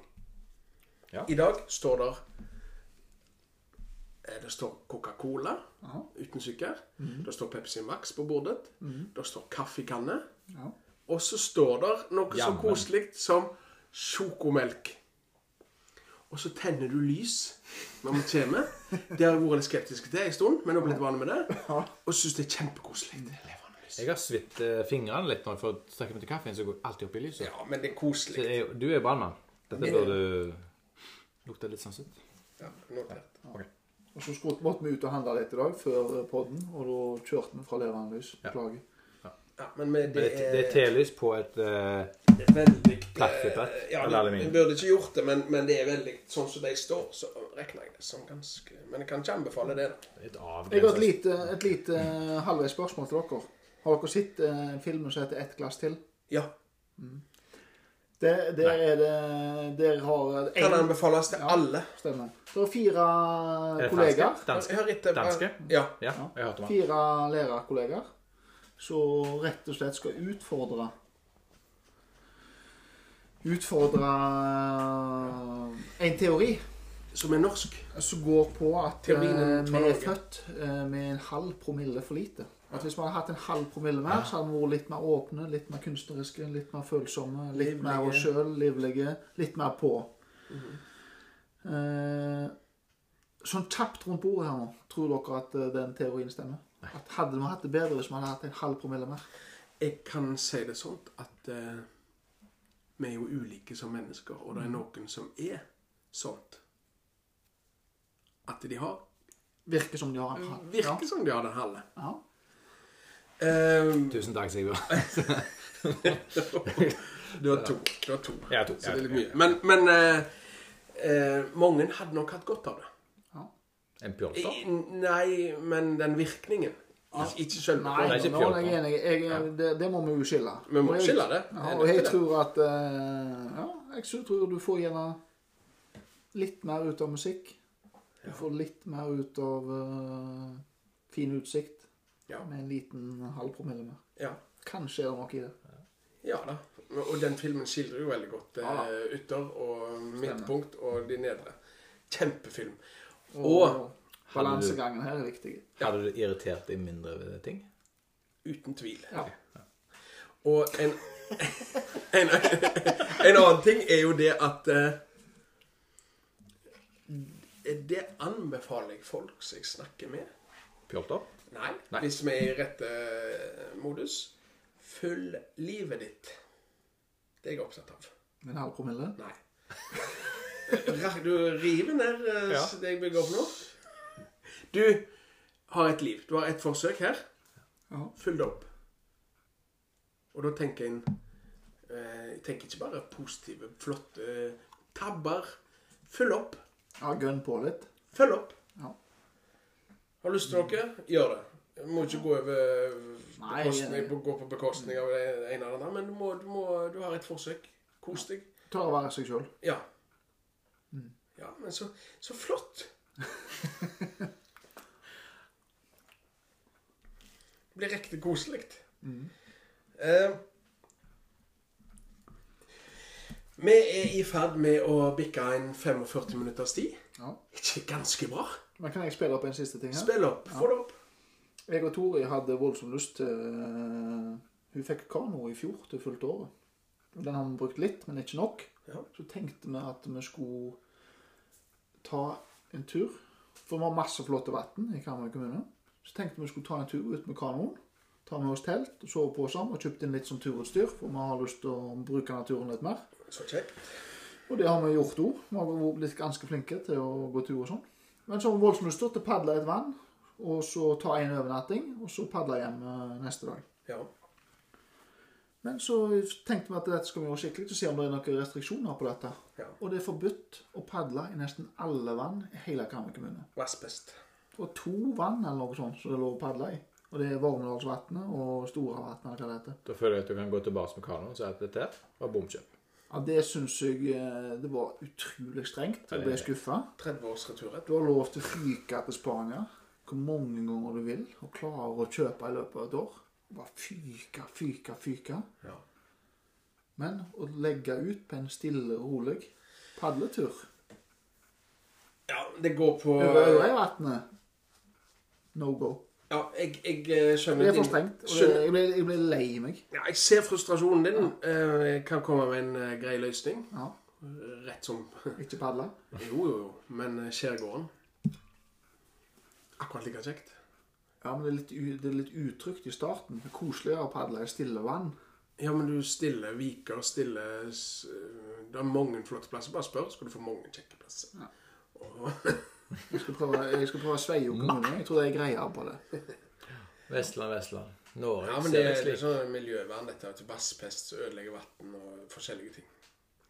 Speaker 2: Ja.
Speaker 1: I dag står der eh, Det står Coca-Cola uten sukker. Det står Pepsi Max på bordet. Det står kaffekanne.
Speaker 3: Ja.
Speaker 1: Og så står der noe så
Speaker 2: Jammen.
Speaker 1: koselig som sjokomelk. Og så tenner du lys når vi kommer. Det har jeg vært litt skeptisk til en stund, men nå har jeg blitt vant med det. Og syns det er kjempekoselig. Det er levende lys.
Speaker 2: Jeg har svitt eh, fingrene litt når jeg får snakke meg til kaffen, så går jeg alltid opp i lyset.
Speaker 1: Ja, men det er
Speaker 2: Så
Speaker 1: koselig.
Speaker 2: jeg, du er brannmann. Dette bør du lukte litt sånn søtt.
Speaker 1: Ja, notert.
Speaker 3: Og så skulle- måtte vi ut og handle litt i dag før podden, og da kjørte vi fra levende lys. Beklager.
Speaker 1: Ja, men med,
Speaker 2: Det,
Speaker 1: det
Speaker 2: er- det er
Speaker 1: er
Speaker 2: telys på et eh,
Speaker 1: veldig
Speaker 2: Plattfibrett,
Speaker 1: eh, Ja,
Speaker 2: eller aluminium.
Speaker 1: vi burde ikke gjort det, men, men det er veldig Sånn som de står, så regner jeg det som ganske Men jeg kan ikke anbefale det, da.
Speaker 2: Et
Speaker 3: Jeg har et
Speaker 2: avgrenset
Speaker 3: lite, et lite eh, halvveis spørsmål til dere. Har dere sett eh, en film som heter 'Ett glass til'?
Speaker 1: Ja.
Speaker 3: Det, der er det Der har
Speaker 1: Kan
Speaker 3: en,
Speaker 1: anbefales til
Speaker 3: Ja.
Speaker 1: alle.
Speaker 3: Stemmer. Det er fire
Speaker 2: Er det
Speaker 3: kollegaer.
Speaker 2: danske? Danske?
Speaker 1: Hør etter.
Speaker 2: Danske?
Speaker 1: Ja.
Speaker 2: Ja, jeg hørte om han.
Speaker 3: Fire lærerkollegaer som rett og slett skal utfordre Utfordre eh, en teori
Speaker 1: Som er norsk.
Speaker 3: som går på at eh,
Speaker 1: Teorien om
Speaker 3: vi er
Speaker 1: Norge.
Speaker 3: født eh, med en halv promille for lite. At Hvis vi hadde hatt en halv promille mer, så hadde vi vært litt mer åpne, litt mer kunstneriske, litt mer følsomme, litt
Speaker 1: Livlige. Mhm.
Speaker 3: mer oss sjøl, livlige, litt mer på. Eh, sånn kjapt rundt bordet her nå, tror dere at eh, den teorien stemmer? At Hadde vi hatt det bedre hvis vi hadde hatt en halv promille mer?
Speaker 1: Jeg kan si det sånn at eh, vi er jo ulike som mennesker, og det er noen som er sånt. At de har
Speaker 3: Virker som de har en halv.
Speaker 1: Mm, Virker som de har den halve.
Speaker 3: Ja.
Speaker 1: Ehm,
Speaker 2: Tusen takk, Sigurd.
Speaker 1: du har to. Du har to.
Speaker 2: Jeg har to.
Speaker 1: Så det er litt
Speaker 2: Jeg
Speaker 1: mye. Men, men eh, eh, mange hadde nok hatt godt av det.
Speaker 2: har- En pjolter?
Speaker 1: I, nei, men den virkningen. Ik- Ikke selve
Speaker 3: Nei,
Speaker 2: Det er
Speaker 1: formen.
Speaker 2: ikke
Speaker 3: nå er jeg
Speaker 2: fjorten.
Speaker 3: enig. Jeg, det, det må vi jo skille.
Speaker 1: Vi må
Speaker 3: Og jeg-
Speaker 1: skille det.
Speaker 3: Ja, og jeg tror at eh, Ja, jeg så tror du får gjerne litt mer ut av musikk. Du får litt mer ut av eh, fin utsikt
Speaker 1: Ja.
Speaker 3: med en liten halv promille mer.
Speaker 1: Ja.
Speaker 3: Kanskje er det noe i det.
Speaker 1: Ja da. Og den filmen skildrer jo veldig godt eh,
Speaker 3: Ja da.
Speaker 1: ytter og midtpunkt og de nedre. Kjempefilm.
Speaker 3: Og
Speaker 1: Og-
Speaker 3: balansegangen her er viktig.
Speaker 2: Hadde du irritert deg mindre ved ting?
Speaker 1: Uten tvil.
Speaker 3: Ja.
Speaker 1: Og en en, en annen ting er jo det at eh, Det anbefaler jeg folk som jeg snakker med.
Speaker 2: Pjolter?
Speaker 1: Nei,
Speaker 2: Nei.
Speaker 1: hvis vi er i rette modus. Følg livet ditt. Det er jeg opptatt av.
Speaker 3: En halv promille.
Speaker 1: Nei. Ra- Du river ned eh,
Speaker 2: Ja.
Speaker 1: det jeg bygger opp nå. Du har et liv. Du har et forsøk her.
Speaker 3: Ja.
Speaker 1: Følg det opp. Og da tenker en eh, Jeg tenker ikke bare positive, flotte eh, tabber. Følg opp.
Speaker 3: Ja, gønn på litt.
Speaker 1: Følg opp.
Speaker 3: Ja.
Speaker 1: Har du lyst til noe, gjør det. Du må ikke gå over
Speaker 3: Nei, eh,
Speaker 1: bekostning,
Speaker 3: jeg-
Speaker 1: gå på bekostning av det ene eller andre, men du, må, du, må, du har et forsøk. Kos deg.
Speaker 3: Tør å være seg sjøl.
Speaker 1: Ja.
Speaker 3: Mm.
Speaker 1: Ja, men så, så flott. Det blir riktig koselig.
Speaker 3: Mm.
Speaker 1: Eh, vi er i ferd med å bikke en 45 minutters tid.
Speaker 3: Ja.
Speaker 1: Ikke ganske bra?
Speaker 3: Men kan jeg spille opp en siste ting her?
Speaker 1: Spill opp. Få det opp.
Speaker 3: Jeg og Tori hadde voldsom lyst til eh, Hun fikk kano i fjor til fullt året. Den har vi brukt litt, men ikke nok.
Speaker 1: Ja.
Speaker 3: Så tenkte vi at vi skulle ta en tur. For vi har masse flotte vann i Karmøy kommune. Så tenkte vi skulle ta en tur ut med kanoen. Ta med oss telt, sove på sammen og kjøpte inn litt sånn turutstyr. For vi har lyst til å bruke naturen litt mer.
Speaker 1: Så kjekt.
Speaker 3: Og det har vi gjort òg. Vi har vært- blitt ganske flinke til å gå tur og sånn. Men så har vi voldsomt lyst til å padle et vann, og så ta en overnatting, og så padle hjem eh, neste dag.
Speaker 1: Ja.
Speaker 3: Men så tenkte vi at dette skal vi gjøre skikkelig, så ser vi om det er noen restriksjoner på dette.
Speaker 1: ja.
Speaker 3: Og det er forbudt å padle i nesten alle vann i hele Karmøy kommune.
Speaker 1: Og asbest.
Speaker 3: Det var to vann eller noe sånt som det er lov å padle i. Og det er Vormedalsvatnet og Storavatnet eller hva det heter.
Speaker 2: Da føler jeg at du kan gå tilbake med kanoen og si at dette her var bomkjøp.
Speaker 3: Ja, det syns jeg eh, det var utrolig strengt. Jeg ble skuffa.
Speaker 1: 30 års returrett.
Speaker 3: Du har lov til å fyke til Spania hvor mange ganger du vil, og klarer å kjøpe i løpet av et år. Bare fyke, fyke, fyke.
Speaker 1: Ja.
Speaker 3: Men å legge ut på en stille og rolig padletur
Speaker 1: ja. Det går på
Speaker 3: over øya i vannet No go.
Speaker 1: Ja, jeg, jeg eh, skjønner
Speaker 3: Det er
Speaker 1: din-
Speaker 3: for strengt. og det-
Speaker 1: skjønner-
Speaker 3: Jeg ble, jeg ble lei meg.
Speaker 1: Ja, jeg ser frustrasjonen din. Eh, Jeg kan komme med en eh, grei løsning.
Speaker 3: Ja,
Speaker 1: Rett som
Speaker 3: ikke padle.
Speaker 1: Jo, jo, jo. Men eh, skjærgården Akkurat like kjekt.
Speaker 3: Ja, men det er litt, u- det er litt utrygt i starten. Det er koseligere å padle i stille vann.
Speaker 1: Ja, men du stille viker, stille s- eh, Det er mange flotte plasser. Bare spør, skal du få mange kjekke plasser.
Speaker 3: Ja.
Speaker 1: Og-
Speaker 3: Jeg skal prøve, jeg skal prøve Sveio kommune. Jeg tror det er greier på det.
Speaker 2: Vestland, Vestland. Norge
Speaker 1: Ja, men det
Speaker 2: ser
Speaker 1: er
Speaker 2: slik.
Speaker 1: litt sånn miljøvern, dette. Til vasspest som ødelegger vann og forskjellige ting.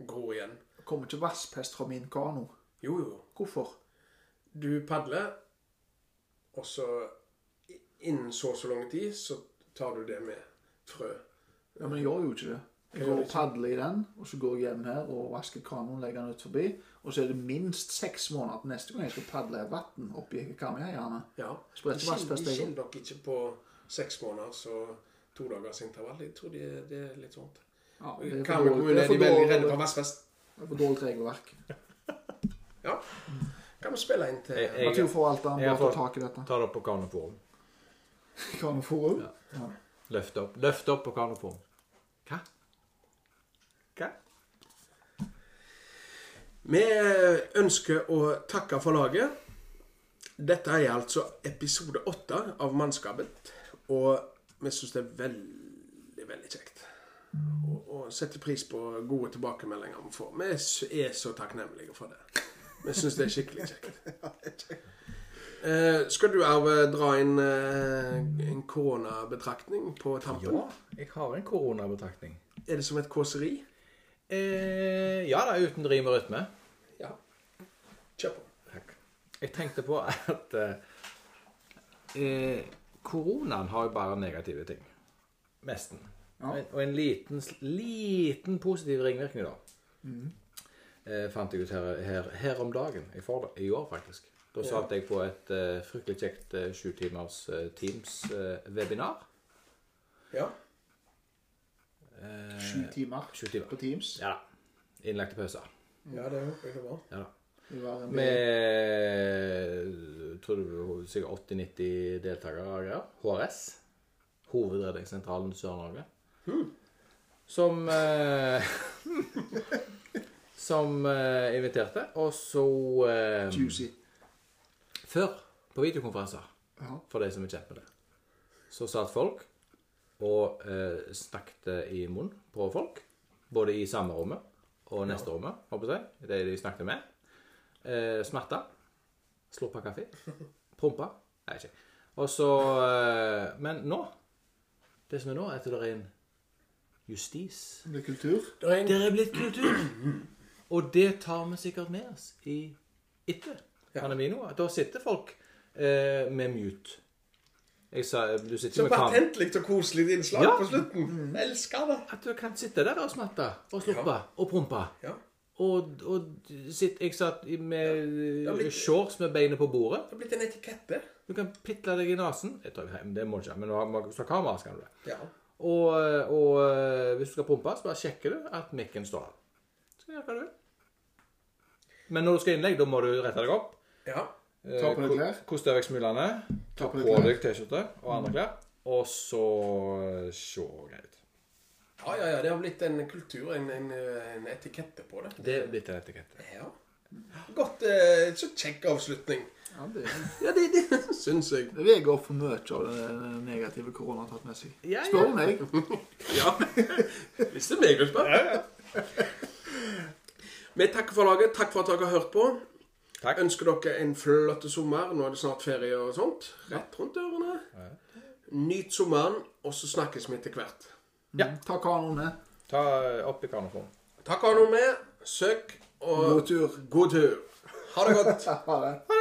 Speaker 1: Gror igjen.
Speaker 3: Kommer ikke vasspest fra min kano.
Speaker 1: Jo, jo.
Speaker 3: Hvorfor?
Speaker 1: Du padler, og så i- innen så og så lang tid så tar du det med frø.
Speaker 3: Ja, men jeg gjør jo ikke det. Jeg
Speaker 1: Jeg gjør
Speaker 3: går og
Speaker 1: ikke.
Speaker 3: padler i den, og så går jeg hjem her og vasker kanoen, legger den ut forbi. Og så er det minst seks måneder til neste gang jeg skal padle i vann oppi Kamøyeierne.
Speaker 1: Ja.
Speaker 3: Spredt
Speaker 1: De skil-
Speaker 3: vasspest,
Speaker 1: De
Speaker 3: jeg.
Speaker 1: skiller dere ikke på seks måneders og to dagers intervall. Jeg tror det, det er litt sånt.
Speaker 3: Ja, det er for
Speaker 1: Karmøy
Speaker 3: dårlig- det
Speaker 1: kommune
Speaker 3: er
Speaker 1: er de
Speaker 3: for
Speaker 1: veldig redde
Speaker 3: dårlig-
Speaker 1: for vassfest.
Speaker 3: det er for dårlig regelverk.
Speaker 1: Ja. Kan vi spille inn til
Speaker 2: Jeg- jeg-
Speaker 3: Naturforvalteren
Speaker 2: jeg har
Speaker 3: bør ta
Speaker 2: fått-
Speaker 3: tak i dette.
Speaker 2: Ta det opp på kanoform.
Speaker 3: Kanoforum. Ja.
Speaker 2: Løft opp. Løft opp på kanoform. Hva? Hva?
Speaker 1: Vi ønsker å takke for laget. Dette er altså episode åtte av Mannskapet. Og vi syns det er veldig, veldig kjekt. Og, og setter pris på gode tilbakemeldinger vi får. Vi s- er så takknemlige for det. Vi syns det er skikkelig kjekt. Eh, skal du, Arve, dra inn eh, en koronabetraktning på tampen?
Speaker 2: Ja, jeg har en koronabetraktning.
Speaker 1: Er det som et kåseri?
Speaker 2: Eh, ja da, uten rim og rytme.
Speaker 1: Ja. Kjør på.
Speaker 2: Takk. Jeg tenkte på at eh, eh, koronaen har jo bare negative ting. Nesten.
Speaker 3: Ja.
Speaker 2: Og en- Og en liten, liten positiv ringvirkning, da.
Speaker 3: Mm.
Speaker 2: Eh, fant jeg ut her, her, her om dagen. I, for, I år, faktisk. Da satt jeg på et eh, fryktelig kjekt eh, sju timers eh, Teams-webinar.
Speaker 1: Ja.
Speaker 3: Sju timer
Speaker 2: sju timer.
Speaker 3: på Teams.
Speaker 2: Eh, ja da. Innlagte pauser.
Speaker 1: ja, det håper jeg det var.
Speaker 2: Ja da.
Speaker 3: Det var en del-
Speaker 2: Med tror du, sikkert 80-90 deltakere og greier. HRS. Hovedredningssentralen Sør-Norge. Som eh, Som eh, inviterte. Og så eh,
Speaker 3: Juicy.
Speaker 2: Før, på videokonferanser,
Speaker 3: Ja.
Speaker 2: for de som er kjent med det, så satt folk og eh, snakket i munnen på folk. Både i samme rommet og neste rommet, håper jeg. De de snakket med. Eh, smerta. Slurpa kaffe. Prompa. Nei, ikke. Og så eh, Men nå Det som er nå, er at det er en justis.
Speaker 3: Det er kultur.
Speaker 1: Det er en
Speaker 2: Det er blitt kultur. Og det tar vi sikkert med oss i etter pandemien nå. Da sitter folk eh, med mute. Jeg sa, du sitter
Speaker 1: Så
Speaker 2: med kam-
Speaker 1: patentlig og koselig innslag
Speaker 2: Ja.
Speaker 1: på slutten. Jeg elsker det.
Speaker 2: At du kan sitte der og smatte og sluppe og prompe.
Speaker 1: Ja.
Speaker 2: Og, og sitt, jeg satt i- med
Speaker 1: Ja, litt-
Speaker 2: shorts med beinet på bordet.
Speaker 1: Det har blitt en etikette.
Speaker 2: Du kan pitle deg i nesen. Jeg tror, nei, det må du ikke, men du har- hvis du har kamera, så kan du det.
Speaker 1: Ja.
Speaker 2: Og, og eh, hvis du skal prompe, så bare sjekker du at mikken står. Så gjør hva du vil. Men når du skal innlegg, da må du rette deg opp.
Speaker 1: Ja.
Speaker 2: Eh,
Speaker 3: Ta på deg
Speaker 2: ko-
Speaker 3: klær.
Speaker 2: Koste vekk smulene. Ta
Speaker 3: Ta på
Speaker 2: på
Speaker 3: deg klær. Mm.
Speaker 2: deg T-skjorte og andre klær. Og så eh, se grei ut.
Speaker 1: ja, ja, ja. Det har blitt en kultur, en, en, en etikette på det.
Speaker 2: Det er litt en etikette.
Speaker 1: Ja. Godt, eh, så kjekk avslutning,
Speaker 3: Ja, det,
Speaker 2: Ja, det, det.
Speaker 1: syns jeg.
Speaker 3: det veier opp for mye av det negative korona har tatt med seg.
Speaker 2: Ja, ja.
Speaker 3: Spør du meg.
Speaker 1: Ja. Hvis det er meg du spør. Vi takker for laget. Takk for at dere har hørt på.
Speaker 2: Takk.
Speaker 1: Ønsker dere en flott sommer. Nå er det snart ferie og sånt. Rett rundt ørene. Nyt sommeren, og så snakkes vi etter hvert.
Speaker 2: Ja.
Speaker 3: Mm. Ta kanoen med.
Speaker 2: Ta eh, opp i kanonen.
Speaker 1: Takk, Arno, med. Søk og
Speaker 3: God tur.
Speaker 1: god tur. Ha det godt.
Speaker 3: Ha det.